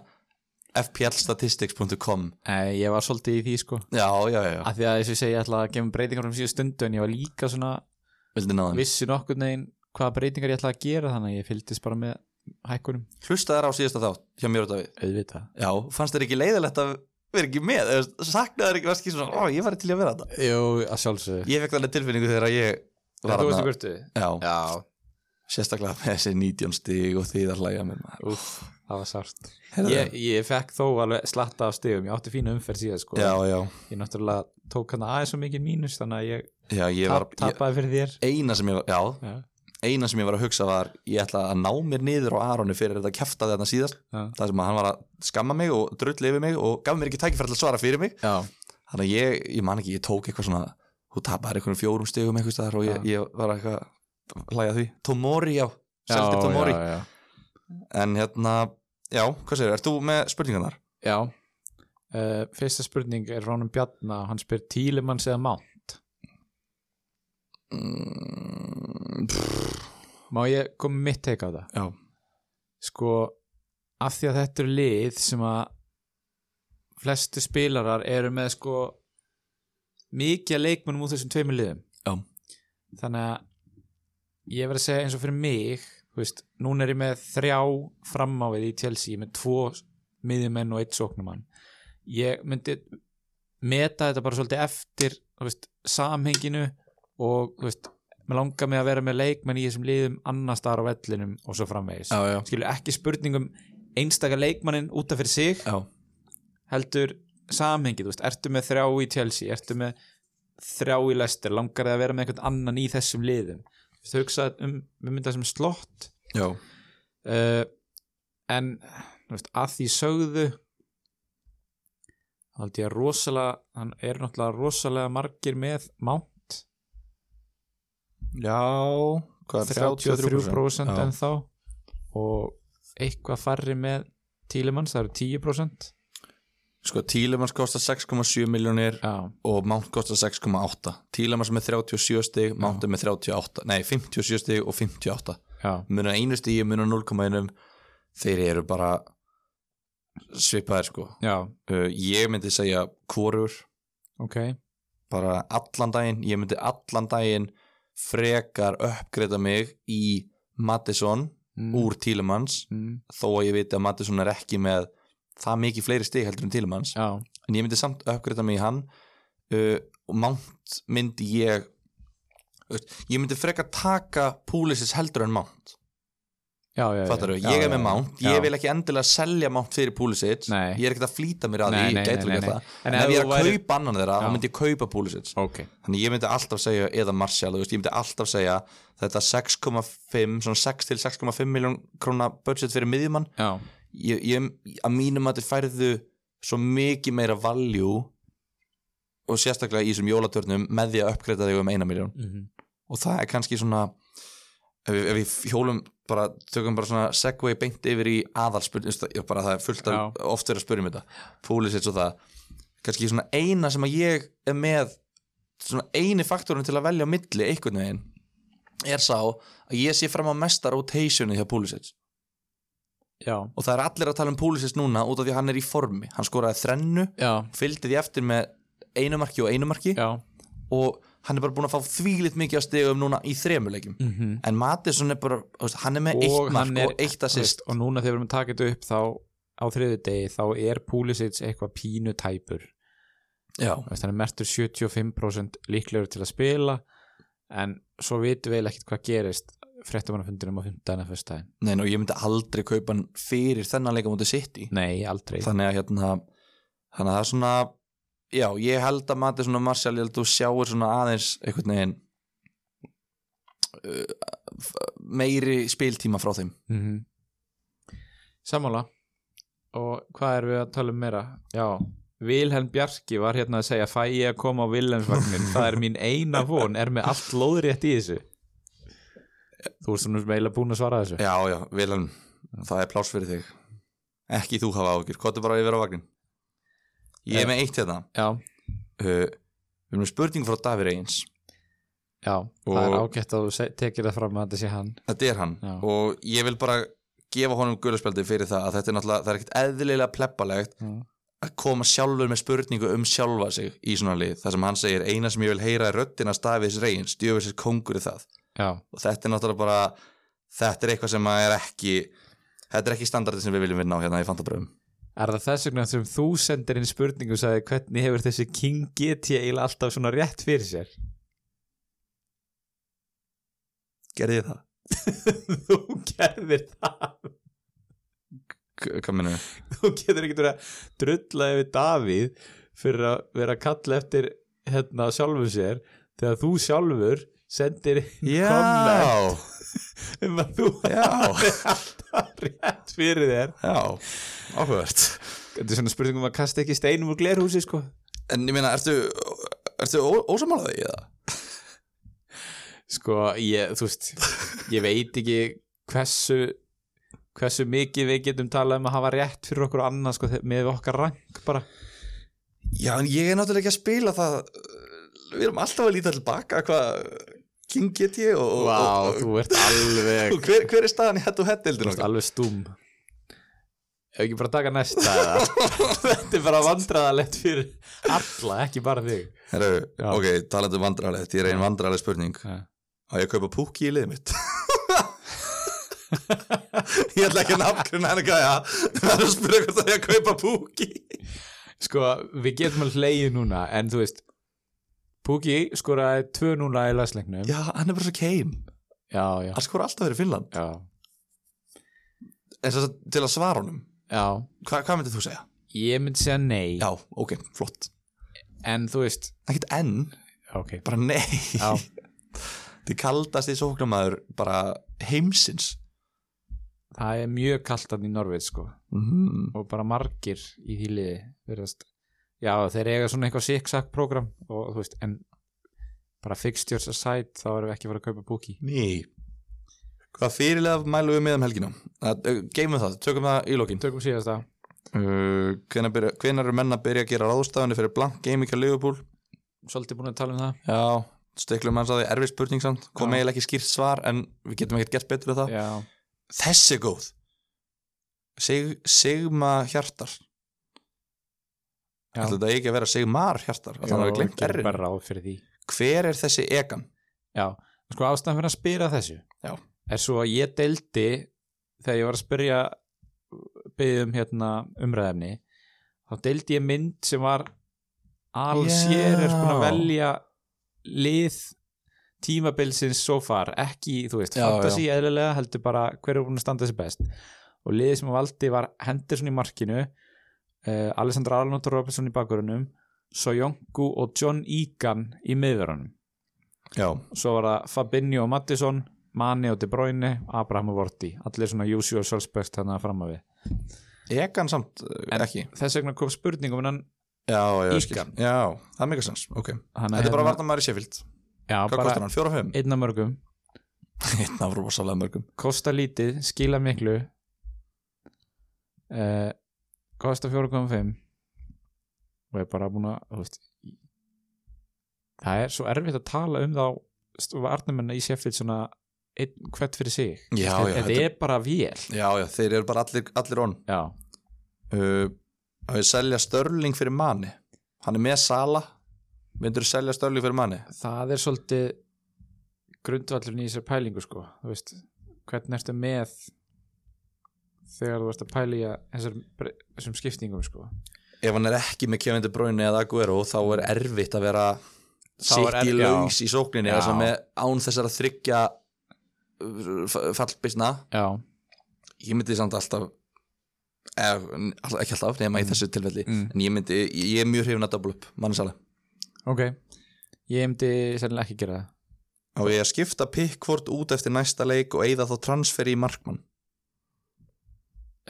Speaker 1: fplstatistics.com
Speaker 2: Nei, Eh, ég var svolítið í því sko
Speaker 1: já, já, já, já,
Speaker 2: að því að þess að ég segi ég ætla að gefa breytingar um síðu stundu en ég var líka svona
Speaker 1: vildi náðan
Speaker 2: vissi nokkur negin hvaða breytingar ég ætla að gera þannig að ég fylgdist bara með hækkunum
Speaker 1: hlusta þær á síðasta þátt hjá mér og Davíð
Speaker 2: auðvitað
Speaker 1: já, fannst þér ekki leiðilegt að vera ekki með eða saknaði þér ekki, varst ekki svona ó, ég var til í að vera þetta
Speaker 2: Jú, að sjálfsögðu
Speaker 1: ég fekk þannig tilfinningu þegar að ég
Speaker 2: Þetta
Speaker 1: var
Speaker 2: þú veist
Speaker 1: þarna-
Speaker 2: hvertu
Speaker 1: já,
Speaker 2: Já,
Speaker 1: sérstaklega með þessi 19 stig og því það hlæja með maður
Speaker 2: úff, það var sárt
Speaker 1: Heyrðu.
Speaker 2: ég, ég fekk þó alveg slatta af stigum ég átti fínu umferð síðan sko
Speaker 1: já, já,
Speaker 2: ég náttúrulega tók hann aðeins svo mikið mínus þannig að ég,
Speaker 1: já, ég var
Speaker 2: tap,
Speaker 1: ég,
Speaker 2: tapaði fyrir þér
Speaker 1: eina sem ég var, já,
Speaker 2: já,
Speaker 1: eina sem ég var að hugsa var ég ætla að ná mér niður á Aronu fyrir þetta kjafta þarna síðast
Speaker 2: já.
Speaker 1: það sem að hann var að skamma mig og drulli yfir mig og gaf mér ekki tækifæri til að svara fyrir mig
Speaker 2: já.
Speaker 1: þannig að ég, ég man ekki, ég tók eitthvað svona þú tapar einhverjum fjórum stegum eitthvað staðar og ég, ég var eitthvað að hlæja að því Tomori, já, seldi Tomori
Speaker 2: já, já,
Speaker 1: en hérna, já, hvað segir, ert þú með spurningarnar?
Speaker 2: já. Uh, fyrsta spurning er Rónum Bjarna og hann spyr Tílimanns eða Mount
Speaker 1: Mm, pff,
Speaker 2: má ég koma með mitt teika á það
Speaker 1: já,
Speaker 2: sko, af því að þetta eru lið sem að flestu spilarar eru með sko mikið af leikmönnum úr þessum tveimur liðum
Speaker 1: Já.
Speaker 2: þannig að ég verð að segja eins og fyrir mig þú veist, núna er ég með þrjá framávið í Chelsea, ég er með tvo miðjumenn og eitt sóknumann ég myndi meta þetta bara svolítið eftir þú veist, samhenginu og þú veist, mér langar mig að vera með leikmenn í þessum liðum annars staðar á vellinum og svo framvegis
Speaker 1: já, já,
Speaker 2: skilur ekki spurningum einstaka leikmannin út af fyrir sig
Speaker 1: já,
Speaker 2: heldur samhengið, þú veist, ertu með þrjá í Chelsea ertu með þrjá í Leicester langar þið að vera með einhvern annan í þessum liðum þú veist, hugsa um, við mynda sem slott
Speaker 1: já,
Speaker 2: uh, en þú veist, að því sögðu þá held ég að rosalega hann er náttúrulega rosalega margir með mount,
Speaker 1: já hvað er
Speaker 2: 33%, 33
Speaker 1: Já.
Speaker 2: en þá og eitthvað farri með Tílemanns, það eru 10%
Speaker 1: sko, Tílemans kostar 6,7 miljónir
Speaker 2: Já,
Speaker 1: og Mount kostar 6,8 Tílemans með 37 stig, Mount er með 38 nei, 57 stig og 58
Speaker 2: já,
Speaker 1: munar einu stíu, munar 0,1 þeir eru bara svipaðir sko
Speaker 2: já,
Speaker 1: uh, ég myndi segja hvorur
Speaker 2: ok
Speaker 1: bara allan daginn, ég myndi allan daginn frekar uppgreita mig í Madison
Speaker 2: mm.
Speaker 1: úr Tílemans
Speaker 2: mm.
Speaker 1: þó að ég viti að Madison er ekki með það mikið fleiri stig heldur en Tílemans
Speaker 2: Já,
Speaker 1: en ég myndi samt uppgreita mig í hann uh, og Mount myndi ég þú veist, ég myndi frekar taka Púlisis heldur en Mount
Speaker 2: já, já, já
Speaker 1: Fattar
Speaker 2: já,
Speaker 1: ég
Speaker 2: já,
Speaker 1: er með
Speaker 2: já.
Speaker 1: Mount,
Speaker 2: Já.
Speaker 1: ég vil ekki endilega selja Mount fyrir Pulisic,
Speaker 2: Nei.
Speaker 1: ég er ekkert að flýta mér að
Speaker 2: Nei,
Speaker 1: því,
Speaker 2: nei,
Speaker 1: ég gæti
Speaker 2: nei,
Speaker 1: alveg
Speaker 2: nei,
Speaker 1: gert
Speaker 2: nei.
Speaker 1: það,
Speaker 2: En
Speaker 1: en
Speaker 2: ef
Speaker 1: ef ég er
Speaker 2: þú
Speaker 1: að
Speaker 2: væri-
Speaker 1: kaupa annan þeirra,
Speaker 2: Já.
Speaker 1: þá myndi ég kaupa Pulisic
Speaker 2: Ok,
Speaker 1: þannig ég myndi alltaf segja, eða Martial þú veist, ég myndi alltaf segja þetta 6,5, svona 6 til 6,5 miljón króna budget fyrir miðjumann
Speaker 2: já,
Speaker 1: ég, ég, að mínum að þið færðu svo mikið meira value og sérstaklega í þessum jólatörnum með því að uppgreita þig um 1 miljón
Speaker 2: mm -hmm.
Speaker 1: og það er kannski svona ef við, ef við hjólum bara, tökum bara svona segway beint yfir í aðalspurning þú veist, ég bara það er fullt af oft verið að spyrja um þetta Púlisits og það kannski svona eina sem að ég er með svona eini faktorinn til að velja á milli einhvern veginn er sá að ég sé fram á mesta rotationi hjá Púlisits
Speaker 2: já,
Speaker 1: og það er allir að tala um Púlisits núna út af því að hann er í formi hann skoraði þrennu,
Speaker 2: já,
Speaker 1: fylgdi því eftir með einu marki og einu marki
Speaker 2: já
Speaker 1: og hann er bara búin að fá þvílitt mikið að stegum núna í þremulegjum
Speaker 2: mm -hmm.
Speaker 1: en Matisson er bara, þú veist, hann er með eitt mark og eitt assist
Speaker 2: og núna þegar við erum að taka þetta upp þá á þriði degi þá er Pulisic eitthvað pínu tæpur
Speaker 1: já,
Speaker 2: Þú veist, hann er mertur 75% líklegur til að spila en svo vitum við eiginlega ekkert hvað gerist fréttumannafundinum á 15. að fyrstæðin
Speaker 1: neina og ég myndi aldrei kaupa hann fyrir þennan leika mútið sitt í
Speaker 2: nei, aldrei
Speaker 1: þannig að hérna þannig að það er svona, já, ég held að Matisson og Martial, ég held að þú sjáir svona aðeins einhvern veginn uh, f- meiri spiltíma frá þeim
Speaker 2: mm Sammála og hvað erum við að tala um meira? Já, Vilhelm Bjarki var hérna að segja fæ ég að koma á Vilhelmsvagnin það er mín eina von, er með allt lóðrétt í þessu Þú ert svona meila búin að svara þessu
Speaker 1: já, já, Vilhelm, það er pláss fyrir þig ekki þú hafa ágjur, hvað er bara yfir á vagnin ég
Speaker 2: Já.
Speaker 1: er með eitt hérna
Speaker 2: Já,
Speaker 1: uh, við erum með spurningu frá Davir Egins
Speaker 2: já, það er
Speaker 1: Og-
Speaker 2: ágætt að þú se- tekir það fram að þetta sé hann
Speaker 1: þetta er hann
Speaker 2: Já.
Speaker 1: og ég vil bara gefa honum gulaspjaldi fyrir það að þetta er náttúrulega, það er ekkert eðlilega pleppalegt
Speaker 2: Já.
Speaker 1: að koma sjálfur með spurningu um sjálfa sig í svona lið, það sem hann segir eina sem ég vil heyra er röddina stafiðis reyns djöfisir kongur í það
Speaker 2: Já,
Speaker 1: og þetta er náttúrulega bara þetta er eitthvað sem að er ekki þetta er ekki standardin sem við viljum vinna á hérna í fantabröðum
Speaker 2: er það þess vegna sem þú sendir inn spurningu og sagði hvernig hefur þessi King GT eiginlega alltaf svona rétt fyrir sér?
Speaker 1: gerði ég það?
Speaker 2: þú gerðir það
Speaker 1: K- hvað minnum við?
Speaker 2: þú getur ekkert verið að drulla yfir Davíð fyrir að vera að kalla eftir hérna sjálfur sér þegar þú sjálfur sendir inn komment
Speaker 1: já,
Speaker 2: um að þú
Speaker 1: já,
Speaker 2: er alltaf rétt fyrir þér
Speaker 1: já áhugavert
Speaker 2: þetta er svona spurning um að kasta ekki steinum úr glerhúsi sko
Speaker 1: en ég meina, ertu, ertu ó- ósammála því eða?
Speaker 2: sko ég, þú veist ég veit ekki hversu hversu mikið við getum talað um að hafa rétt fyrir okkur annað sko þe- með okkar rank bara
Speaker 1: Já, en ég er náttúrulega ekki að spila það uh, Við erum alltaf að líta til baka hvað King get ég og, og-
Speaker 2: Vá,
Speaker 1: og,
Speaker 2: þú ert alveg
Speaker 1: og hver, hver er staðan í hættu og hættildin
Speaker 2: Þú ert alveg stúm Ef ekki bara taka næsta eða? Þetta er bara vandraðalegt fyrir alla, ekki bara þig
Speaker 1: Herru,
Speaker 2: Já.
Speaker 1: ok, talandi um vandrarlegt Ég er ein vandrarleg spurning
Speaker 2: Þú
Speaker 1: Á ég að kaupa púki í liðið mitt Ég ætla ekki að nafngrunna henni gæja Það er að spyrja hvort það er að kaupa púki
Speaker 2: Sko, við getum að hleyja núna En þú veist Pukki skoraði 2 núna í lasleiknum
Speaker 1: Já, hann er bara svo keim
Speaker 2: já, já,
Speaker 1: Hann skor alltaf verið Finnland
Speaker 2: já,
Speaker 1: En þess að til að svara honum
Speaker 2: já.
Speaker 1: hva, Hvað myndir þú segja?
Speaker 2: Ég myndi segja nei
Speaker 1: Já, ok, flott
Speaker 2: En þú veist
Speaker 1: Ekkert enn,
Speaker 2: okay.
Speaker 1: bara nei
Speaker 2: já,
Speaker 1: Þið kaldast í sóknamaður bara heimsins
Speaker 2: Það er mjög kalt kaltan í Norveit sko
Speaker 1: mm.
Speaker 2: Og bara margir í því liði virðast. Já, þeir eiga svona eitthvað zigzag program og, þú veist, En bara fixtures aside Þá erum við ekki að fara að kaupa Pukki
Speaker 1: Ný Hvað fyrirlega mælum við með um helgina? Að, uh, Geymum það, tökum það í lokin
Speaker 2: Tökum síðasta
Speaker 1: uh, hvenær, byrja, hvenær eru menn að byrja að gera ráðstafanir fyrir blank gaming á Liverpool?
Speaker 2: Svolítið búin að tala um það
Speaker 1: Já, stiklum hans að því erfið spurning samt kom
Speaker 2: Já.
Speaker 1: eiginlega ekki skýrt svar en við getum ekkert gert betur en það
Speaker 2: Já,
Speaker 1: Þessi er góð Sig, Sigma hjartar
Speaker 2: Já.
Speaker 1: Ætli Þetta er ekki að vera Sigmar hjartar Þannig að við glemt
Speaker 2: gerum
Speaker 1: erinn
Speaker 2: bara ráð fyrir því
Speaker 1: Hver er þessi egan?
Speaker 2: Já, sko ástæðan fyrir að spyrja þessu
Speaker 1: Já.
Speaker 2: Er svo að ég deildi þegar ég var að spyrja byggði um hérna umræðefni þá deildi ég mynd sem var alls
Speaker 1: Já.
Speaker 2: ég er búin að velja lið tímabilsins so far ekki, þú veist,
Speaker 1: Já,
Speaker 2: fantasi eðlilega heldur bara hver er búin að standa sér best og liðið sem hann valdi var Henderson í markinu uh, Alessandra Arnold Robertson í bakgrunum Sojongu og John Egan í miðverunum
Speaker 1: Já,
Speaker 2: svo var það Fabinho og Mattisson Mani og De Bruyne, Abraham og Vorti allir svona usual suspects þannig að framma við
Speaker 1: egan samt en, ekki
Speaker 2: þess vegna kom spurningum innan
Speaker 1: já, já, ég skil.
Speaker 2: Íkan.
Speaker 1: já, það er mikið sens okay.
Speaker 2: hann hérna,
Speaker 1: þetta er bara vartamæri Sheffield,
Speaker 2: já,
Speaker 1: hvað kostar
Speaker 2: bara
Speaker 1: hann, fjóra og fimm
Speaker 2: einna mörgum
Speaker 1: einn af rosalega mörgum
Speaker 2: kosta lítið, skila miklu eh, kosta 4,5 og er bara búin að þú veist, það er svo erfitt að tala um þá varnamennar í Sheffield svona einn hvert fyrir sig
Speaker 1: Já,
Speaker 2: Þú veist,
Speaker 1: já,
Speaker 2: þetta
Speaker 1: þetta-
Speaker 2: er bara vél
Speaker 1: já, já, þeir eru bara allir, allir on
Speaker 2: já,
Speaker 1: uh, að við selja Störling fyrir manni hann er með Sala myndur selja Störling fyrir manni
Speaker 2: það er svolítið grundvallurinn í þessari pælingu sko þú veist, hvernig ertu með þegar þú ert að pæla í að þessar, þessum skiptingum sko
Speaker 1: ef hann er ekki með Kevin De Bruyne eða Aguero þá er erfitt að vera
Speaker 2: Þá er
Speaker 1: sitt í
Speaker 2: erfitt, já.
Speaker 1: laus í sókninni
Speaker 2: Já.
Speaker 1: þess að með án þessar að þryggja fallbisna
Speaker 2: já,
Speaker 1: ég myndi samt alltaf ef, all- ekki alltaf, nema í þessu tilfelli
Speaker 2: Mm.
Speaker 1: en ég myndi, ég er mjög hrifin að double up manni Sala
Speaker 2: Ok, ég myndi sennilega ekki gera það
Speaker 1: og ég að skipta Pickford út eftir næsta leik og eigða þá transferi í Markmann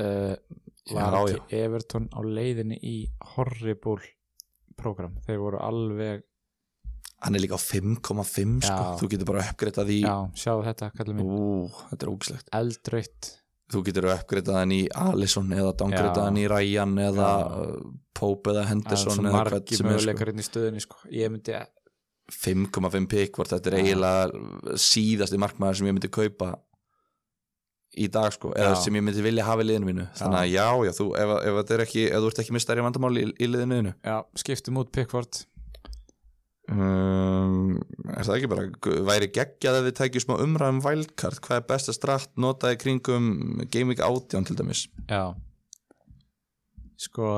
Speaker 2: uh,
Speaker 1: Já,
Speaker 2: Var
Speaker 1: já.
Speaker 2: ekki Everton á leiðinni í horriból program Þeir voru alveg,
Speaker 1: hann er líka á 5,5 sko.
Speaker 2: Já.
Speaker 1: þú getur bara uppgreitað í
Speaker 2: já, sjáðu þetta, kallum minn
Speaker 1: Ú, þetta er ógislegt
Speaker 2: Eldraut,
Speaker 1: þú getur uppgreitað hann í Alisson eða downgraitað
Speaker 2: Já.
Speaker 1: hann í Ryan eða
Speaker 2: Já.
Speaker 1: uh, Pope eða
Speaker 2: það er
Speaker 1: Henderson
Speaker 2: svo
Speaker 1: eða hvert
Speaker 2: margi
Speaker 1: sem er, sko.
Speaker 2: möguleikar inn í stöðinni sko. Ég myndi,
Speaker 1: 5,5 Pickford þetta er
Speaker 2: Já.
Speaker 1: eiginlega síðasti markmaður sem ég myndi kaupa í dag sko,
Speaker 2: Já.
Speaker 1: eða sem ég myndi vilja hafa í liðinu mínu þannig að já, já, þú, ef, ef, þetta er ekki, ef þú ert ekki með stærri vandamál í, í liðinu þínu,
Speaker 2: já, skiptum út Pickford
Speaker 1: um, er það ekki bara væri geggjað ef við tækjum smá umræðum wildcard, hvað er besta stratt notaði kringum Gaming 18 til dæmis
Speaker 2: Já Sko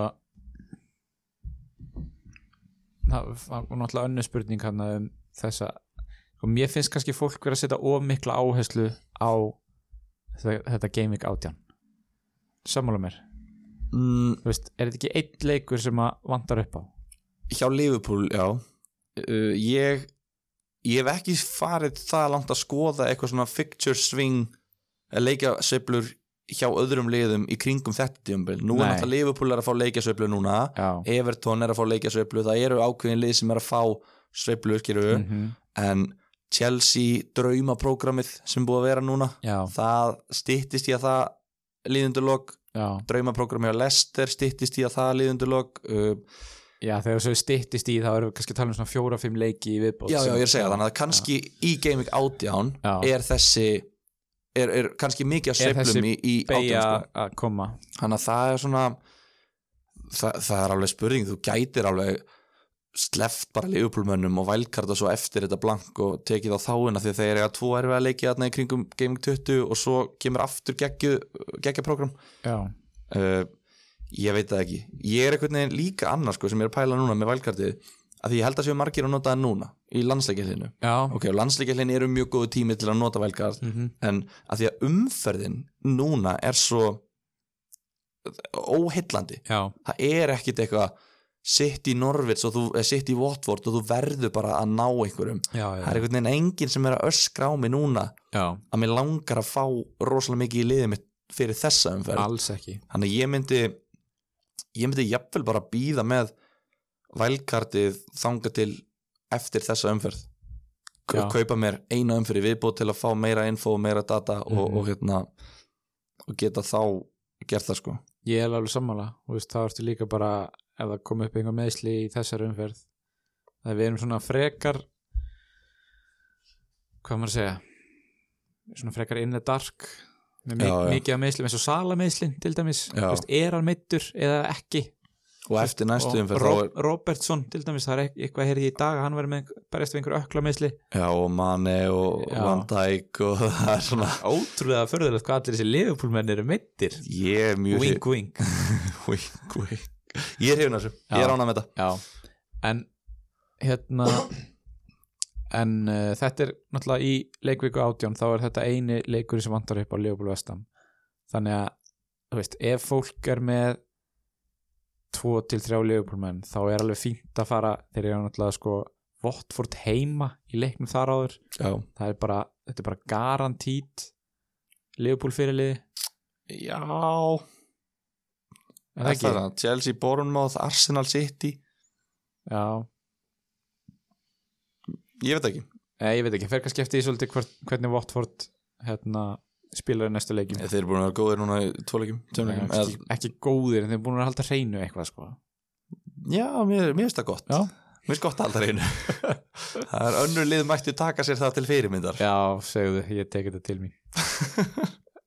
Speaker 2: Það var náttúrulega önnur spurning hann um þessa og mér finnst kannski fólk verið að setja of mikla áherslu á þetta, þetta gaming átján Sammála mér
Speaker 1: mm,
Speaker 2: Þú veist, Er þetta ekki einn leikur sem að vantar upp á?
Speaker 1: hjá Liverpool, já uh, ég ég hef ekki farið það langt að skoða eitthvað svona fixture swing eða leikjasveiflur hjá öðrum liðum í kringum þetta tíumbil nú er
Speaker 2: Nei.
Speaker 1: náttúrulega Liverpool er að fá leikjasveiflu núna
Speaker 2: Já
Speaker 1: Everton er að fá leikjasveiflu það eru ákveðin lið sem er að fá sveiflu skilur
Speaker 2: mm
Speaker 1: en Chelsea draumaprógrammið sem búið að vera núna
Speaker 2: Já,
Speaker 1: það styttist í að það liðundulok
Speaker 2: já,
Speaker 1: draumaprógrammið á Leicester styttist í að það liðundulok uh,
Speaker 2: já, þegar svo styttist í þá erum við kannski að tala um svona fjóra-fimm leiki í viðbót
Speaker 1: já, já,
Speaker 2: sem-
Speaker 1: ég er að segja þannig að kannski í Gaming 18
Speaker 2: Já.
Speaker 1: er þessi er, er kannski mikið að
Speaker 2: Er þessi
Speaker 1: sveiflum í, í 18
Speaker 2: beigja
Speaker 1: sko.
Speaker 2: að koma
Speaker 1: þannig að það er svona það, það er alveg spurning, þú gætir alveg sleft bara leifupólmönnum og vælkarta svo eftir þetta blank og tekið á þáina því þeir eru að tvo erfið að leikja þarna í kringum Gaming 20 og svo kemur aftur geggju, geggjaprógram
Speaker 2: Já,
Speaker 1: uh, ég veit það ekki ég er einhvern veginn líka annars sko, sem ég er að pæla núna með vælkartið að því ég held að séu margir að nota það núna í landsleikjallinu
Speaker 2: já,
Speaker 1: ok, og landsleikjallin eru mjög góðu tími til að nota velgast
Speaker 2: Mhm.
Speaker 1: en að því að umferðin núna er svo óheillandi
Speaker 2: já,
Speaker 1: það er ekkit eitthvað sitt í Norvits og þú, eh, sitt í Watford og þú verður bara að ná einhverjum
Speaker 2: já,
Speaker 1: það er einhvern veginn enginn sem er að öskra á mig núna
Speaker 2: já.
Speaker 1: að mér langar að fá rosalega mikið í liðið mitt fyrir þessa umferð
Speaker 2: alls ekki
Speaker 1: þannig að ég myndi ég myndi jafnvel bara býða með vælkartið þanga til eftir þessa umferð K
Speaker 2: Já.
Speaker 1: kaupa mér eina umferð í viðbót til að fá meira info og meira data og,
Speaker 2: Mhm.
Speaker 1: og hérna og geta þá gert það sko
Speaker 2: ég er alveg sammála, þú veist, þá ertu líka bara ef það kom upp einhver meðsli í þessari umferð að við erum svona frekar hvað á maður að segja svona frekar in the dark með mik
Speaker 1: Já, já.
Speaker 2: mikið af meðslum, eins og sala meðslin til dæmis,
Speaker 1: Já.
Speaker 2: þú veist, er hann meittur eða ekki,
Speaker 1: og eftir næstu
Speaker 2: og
Speaker 1: umferð
Speaker 2: Ro
Speaker 1: þá er,
Speaker 2: Robertson til dæmis, það er eit- eitthvað heyrði ég í dag að hann verið með berjast við einhver ökla meðsli
Speaker 1: já, og Mane og
Speaker 2: Já.
Speaker 1: Van Dijk og það er svona
Speaker 2: ótrúlega förðulegt hvað allir þessi liðupúlmenn eru meittir
Speaker 1: ég er mjög hrif-
Speaker 2: wink wink
Speaker 1: wink, wink. ég er hefna þessu,
Speaker 2: Já.
Speaker 1: ég er ánað með þetta
Speaker 2: Já, en hérna en uh, þetta er náttúrulega í leikviku átján þá er þetta eini leikur sem vantar upp á Leopold Vestam þannig að, þú veist, ef fólk er með tvo til þrjá Leopold menn, þá er alveg fínt að fara þeir eru náttúrulega sko Votford heima í leiknum þar áður
Speaker 1: já,
Speaker 2: það er bara, þetta er bara garantít Leopold fyrirliði
Speaker 1: já.
Speaker 2: er það ekki?
Speaker 1: það, Chelsea, Bournemouth, Arsenal City
Speaker 2: Já,
Speaker 1: ég veit ekki
Speaker 2: eh, ég veit ekki, fer kannski eftir því svolítið hvort, hvernig Watford hérna, spilar í næstu leikjum
Speaker 1: Þeir eru búin að vera góðir núna í tvoleikjum, tveimleikjum
Speaker 2: ekki,
Speaker 1: eða-
Speaker 2: ekki góðir en þeir eru búin að halda hreinu eitthvað sko.
Speaker 1: Já, mér, mér finnst það gott
Speaker 2: já,
Speaker 1: Mér finnst gott aldrei einu Það er önnur lið mættu taka sér það til fyrirmyndar
Speaker 2: já, segðu, ég teki þetta til mín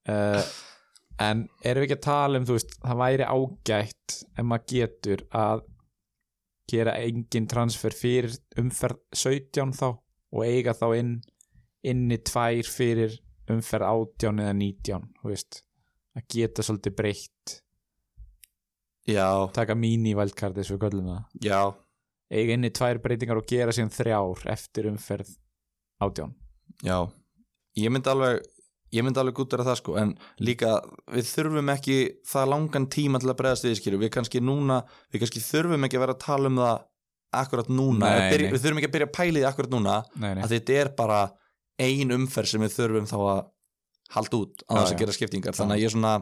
Speaker 2: uh, en erum við ekki að tala um þú veist, það væri ágætt ef maður getur að gera engin transfer fyrir umferð 17 þá og eiga þá inn inni tvær fyrir umferð 18 eða 19 þú veist, að geta svolítið breytt
Speaker 1: Já,
Speaker 2: taka mini-vældkart eins og við köllum það
Speaker 1: já,
Speaker 2: eiga inni tvær breytingar og gera síðan þrjár eftir umferð átján
Speaker 1: já Ég myndi alveg Ég myndi alveg gútur að það sko En líka, við þurfum ekki það langan tíma til að bregðast við skilju Við kannski núna, við kannski þurfum ekki að vera að tala um það akkurat núna
Speaker 2: Nei,
Speaker 1: Eða byrja,
Speaker 2: nei.
Speaker 1: Við þurfum ekki að byrja að pæli því akkurat núna
Speaker 2: nei, nei.
Speaker 1: að þetta er bara ein umferð sem við þurfum þá að halda út á
Speaker 2: Já,
Speaker 1: þess að
Speaker 2: já.
Speaker 1: gera skiptingar þannig að ég er svona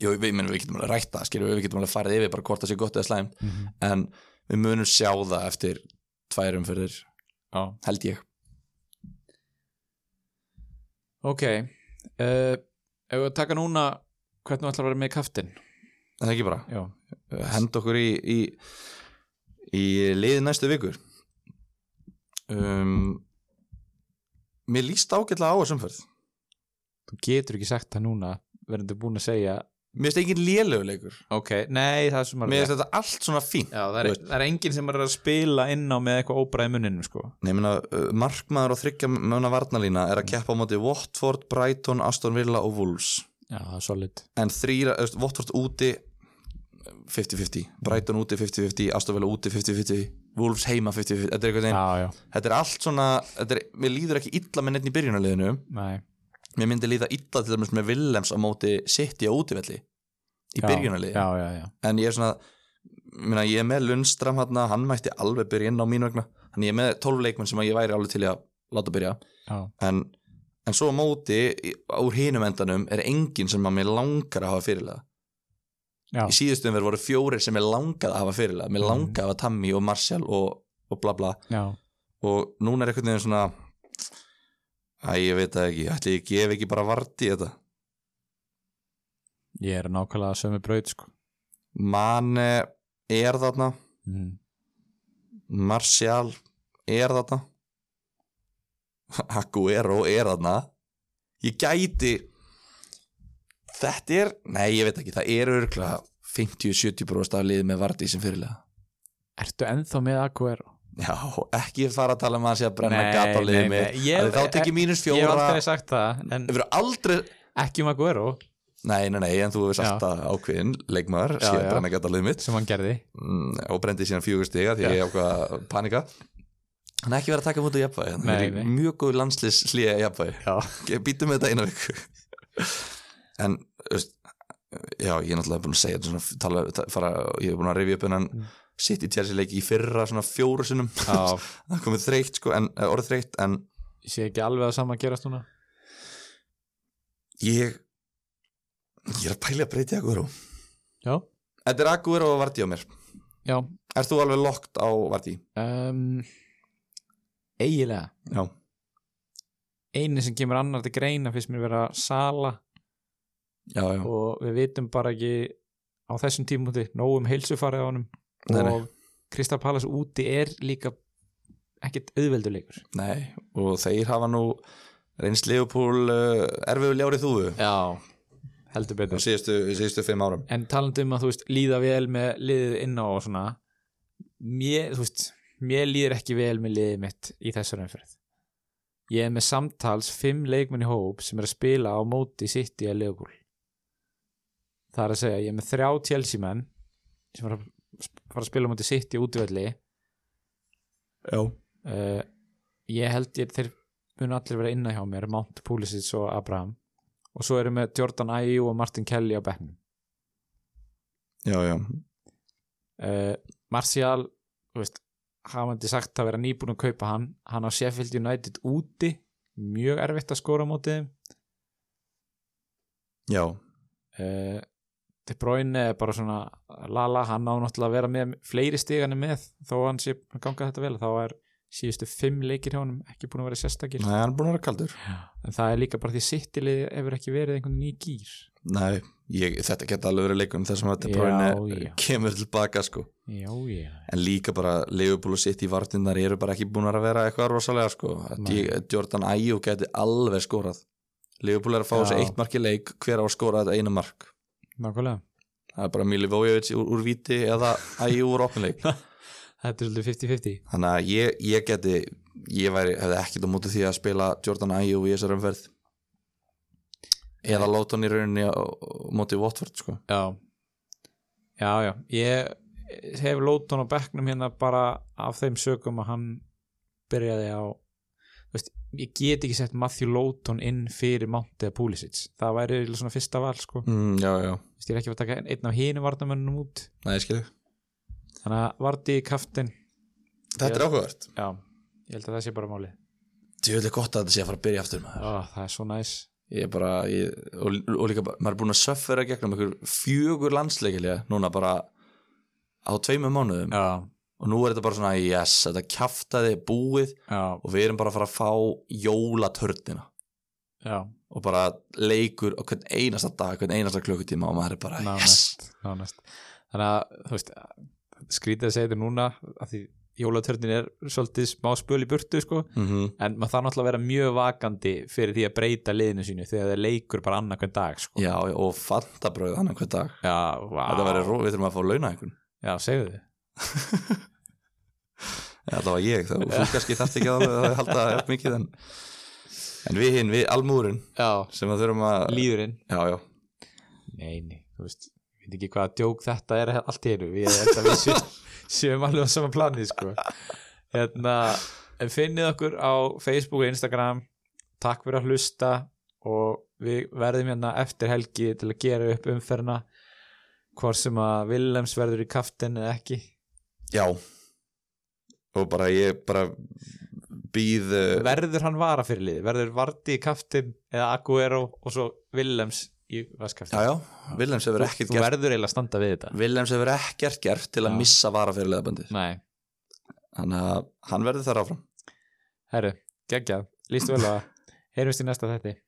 Speaker 1: jú, við, minn, við getum alveg rætta, skiljum við getum alveg farið yfir bara hvort það sé gott eða slæmt
Speaker 2: Mm -hmm.
Speaker 1: en við munum sjá það eftir tvær umferðir,
Speaker 2: Já.
Speaker 1: held ég
Speaker 2: ok uh, ef við taka núna hvernig ætlar að vera með kaftin
Speaker 1: en það ekki bara,
Speaker 2: já,
Speaker 1: hend okkur í í, í liði næstu vikur um, mér líst ágætlega á þessum umferð
Speaker 2: þú getur ekki sagt það núna verður búin að segja
Speaker 1: mér finnst engin léleguleikur
Speaker 2: ok, nei, það er sem
Speaker 1: mér
Speaker 2: maður
Speaker 1: finnst þetta allt svona fínt
Speaker 2: Já, það, er,
Speaker 1: Þú
Speaker 2: það er enginn sem er að spila inn á með eitthvað óbræði munninum sko.
Speaker 1: Nei, ég meina, uh, markmaður og þryggja mögna varnalína er að keppa á móti Watford, Brighton, Aston Villa og Wolves
Speaker 2: Já, það er solid
Speaker 1: en þrýra, þú veist, Watford úti 50-50, Brighton úti 50-50 Aston Villa úti 50-50 Wolves heima 50-50, þetta er einhvern veginn
Speaker 2: Já, já,
Speaker 1: þetta er allt svona, þetta er, mér líður ekki illa með neitt í byrjunarliðinu,
Speaker 2: nei
Speaker 1: mér myndi líða illa til dæmis með Willems á móti City á útivelli í
Speaker 2: Já,
Speaker 1: byrjunarliði,
Speaker 2: Já, já, já,
Speaker 1: en ég er svona ég meina, ég er með Lundstram hérna, hann mætti alveg byrja inn á mín vegna, þannig ég er með 12 leikmenn sem að ég væri alveg til í að láta byrja
Speaker 2: já.
Speaker 1: en, en svo á móti í- úr hinum endanum er enginn sem að mér langar að hafa fyrirlega
Speaker 2: Já.
Speaker 1: í síðustu umverð voru fjórir sem mér langaði að hafa fyrirlega mér
Speaker 2: Mm.
Speaker 1: langaði að hafa Tammy og Marshall og, og bla bla
Speaker 2: já.
Speaker 1: og núna er einhvern veginn svona æ, ég veit það ekki, ætli ég gef ekki bara vart í þetta
Speaker 2: Ég er nákvæmlega sömu braut sko.
Speaker 1: Mane er þarna Mhm.
Speaker 2: mm.
Speaker 1: Marshall er þarna Aguero er þarna ég gæti þetta er, nei ég veit ekki það eru örgla 50-70 bróðast af liðið með Vardí sem fyrirlega
Speaker 2: Ertu ennþá með Aguero?
Speaker 1: já, ekki fara að tala um að hann sé að brenna
Speaker 2: Nei,
Speaker 1: gata á liðið
Speaker 2: nei,
Speaker 1: með
Speaker 2: nei, ég-
Speaker 1: af því þá tekið mínus
Speaker 2: Ég hef
Speaker 1: fjóra
Speaker 2: aldrei sagt það en
Speaker 1: við erum aldrei,
Speaker 2: ekki um Aguero
Speaker 1: nei, nei, nei en þú hefur sagt
Speaker 2: Já.
Speaker 1: að ákveðin, leikmaður sé
Speaker 2: Já,
Speaker 1: að
Speaker 2: já.
Speaker 1: brenna gata á liðið mitt
Speaker 2: sem hann gerði
Speaker 1: Mm, og brendi síðan fjögur stiga því
Speaker 2: Já.
Speaker 1: ég ákvað að panika hann er ekki verið að taka mútu í jafnvægi hann
Speaker 2: Nei,
Speaker 1: er í
Speaker 2: nei.
Speaker 1: mjög góð landslis hlýja í jafnvægi
Speaker 2: Já,
Speaker 1: Ég býtum með þetta eina viku en þú veist, já, ég er náttúrulega búin að segja þetta svona, tala, ta- fara, ég er búin að rifja upp hennan
Speaker 2: Mm.
Speaker 1: sitt í Chelsea leiki í fyrra svona fjóru sinnum það komið þreytt sko, en, eh, orðið þreytt en
Speaker 2: ég sé ekki alveg að sama að gerast núna
Speaker 1: ég ég er að pæli að breyta í Aguero
Speaker 2: Já,
Speaker 1: þetta er Aguero og Vardí á mér
Speaker 2: já
Speaker 1: Ert þú alveg lokt á Vardí?
Speaker 2: um, Eigilega
Speaker 1: Já,
Speaker 2: Einu sem kemur annar til greina finnst mér vera Sala
Speaker 1: já, já
Speaker 2: og við vitum bara ekki á þessum tímundi nóg um heilsufarið á honum
Speaker 1: Nei, nei.
Speaker 2: og Krista Pallas úti er líka ekkert auðvelduleikur
Speaker 1: Nei, og þeir hafa nú reynst Leopold uh, erfiðu ljárið þúfu
Speaker 2: Já, heldur
Speaker 1: á
Speaker 2: betur
Speaker 1: síðustu, síðustu fimm árum
Speaker 2: en talandi um að þú veist líða vel með liðið inn á og svona mér, þú veist, mér líður ekki vel með liðið mitt í þessar umferð ég er með samtals fimm leikmenn í hóp sem er að spila á móti sitt í að leikul það er að segja, ég er með þrjá Chelsea menn sem er að sp- fara að spila á móti sitt í útvöldi
Speaker 1: Já
Speaker 2: uh, ég held ég þeir munu allir vera inna hjá mér Mount Pulisic og Abraham og svo erum við Jordan Ayew og Martin Kelly á bekknum
Speaker 1: Já, já,
Speaker 2: uh, Martial þú veist, hafandi sagt að vera nýbúin að kaupa hann hann á Sheffield United úti mjög erfitt að skora á móti þeim
Speaker 1: já,
Speaker 2: uh, De Bruyne er bara svona lala, hann á náttúrulega að vera með fleiri stigani með þó að hann sé að ganga þetta vel þá er síðustu fimm leikir hjá honum ekki búin að vera sérstakir
Speaker 1: Nei, hann er búin að vera kaldur
Speaker 2: en það er líka bara því sittilið hefur ekki verið einhvern veginn í gýr
Speaker 1: Nei, ég, þetta geta alveg verið leikunum þessum að De Bruyne
Speaker 2: Já, já.
Speaker 1: kemur tilbaka sko
Speaker 2: já, já,
Speaker 1: en líka bara Liverpool og City vartinnar eru bara ekki búin að vera eitthvað rosalega sko Að
Speaker 2: Nei.
Speaker 1: Di- Jordan Ayew geti alveg skorað Liverpool er að fá
Speaker 2: Já.
Speaker 1: þessi eitt mark í leik hver á að skora þetta eina mark
Speaker 2: nákvæmlega
Speaker 1: það er bara Milivojevic úr, úr viti eða Ayew úr opinleik
Speaker 2: þetta er svolítið 50-50
Speaker 1: þannig að ég, ég geti ég væri, hefði ekkit á móti því að spila Jordan Ayew í þessar umferð eða láta hann í rauninni á, á móti Watford sko
Speaker 2: já, já, já ég hef lót hann á bekknum hérna bara af þeim sögum að hann byrjaði á þú veist, ég get ekki sett Matthew Lóton inn fyrir Mount eða Pulisic það væri eiginlega svona fyrsta val sko
Speaker 1: mm, já, já,
Speaker 2: Þú veist, ég er ekki að fara að taka einn af hinu varnamönnum út
Speaker 1: Nei, ég skilji
Speaker 2: þannig að Vardí kaftin
Speaker 1: þetta er áhugavert
Speaker 2: já, ég held að það sé bara málið
Speaker 1: djöðlega gott að þetta sé að fara að byrja aftur maður
Speaker 2: Ó, það er svo næs
Speaker 1: ég er bara, ég, og, og líka bara, maður er búin að söffera gegnum ykkur fjögur landsleikilega núna bara á tveimur mánuðum
Speaker 2: já,
Speaker 1: og nú er þetta bara svona, yes, þetta kjaftaði er búið
Speaker 2: já,
Speaker 1: og við erum bara að fara að fá jólatörnina
Speaker 2: já,
Speaker 1: og bara leikur á hvern einasta dag, hvern einasta klukkutíma og maður er bara, yes
Speaker 2: nánast, nánast þannig að, þú veist skrítið að segja þetta núna af því jólatörnin er svolítið smá spöl í burtu sko,
Speaker 1: mm
Speaker 2: en maður þarf náttúrulega að vera mjög vakandi fyrir því að breyta liðinu sínu þegar það leikur bara annar hvern dag sko.
Speaker 1: já, og fantabröð annan hvern dag
Speaker 2: já, vá,
Speaker 1: þetta verður, ró- við þurfum að fá launa einhvern
Speaker 2: já, segðu þið
Speaker 1: þetta var ég, þá, þú kannski þarft ekki að alveg að halda upp mikið en, en við hinn, við almúrin
Speaker 2: já,
Speaker 1: sem að þurfum að
Speaker 2: líðurinn
Speaker 1: já, já,
Speaker 2: Nei, nei, þú veist, ég veit ekki hvaða djók þetta er allt í einu, ég held að við séum, séum alveg á sama plani, sko. Hérna, en finnið okkur á Facebook og Instagram, takk fyrir að hlusta og við verðum hérna eftir helgi til að gera upp umferna, hvort sem að Willems verður í kaftin eða ekki.
Speaker 1: já og bara ég bara býð uh,
Speaker 2: Verður hann vara fyrir liði, verður Vardi í kaftin eða Aguero og svo Willems í
Speaker 1: já,
Speaker 2: vaskaftin.
Speaker 1: já, Vilhelms hefur ekkert
Speaker 2: Þú
Speaker 1: gert
Speaker 2: verður eiginlega að standa við þetta.
Speaker 1: Vilhelms hefur ekkert gert til að
Speaker 2: Já.
Speaker 1: missa vara fyrir leðabandi
Speaker 2: Nei.
Speaker 1: þannig að hann verður þar áfram
Speaker 2: Herru, geggjað, lístu vel á það Heyrjumst í næsta þetti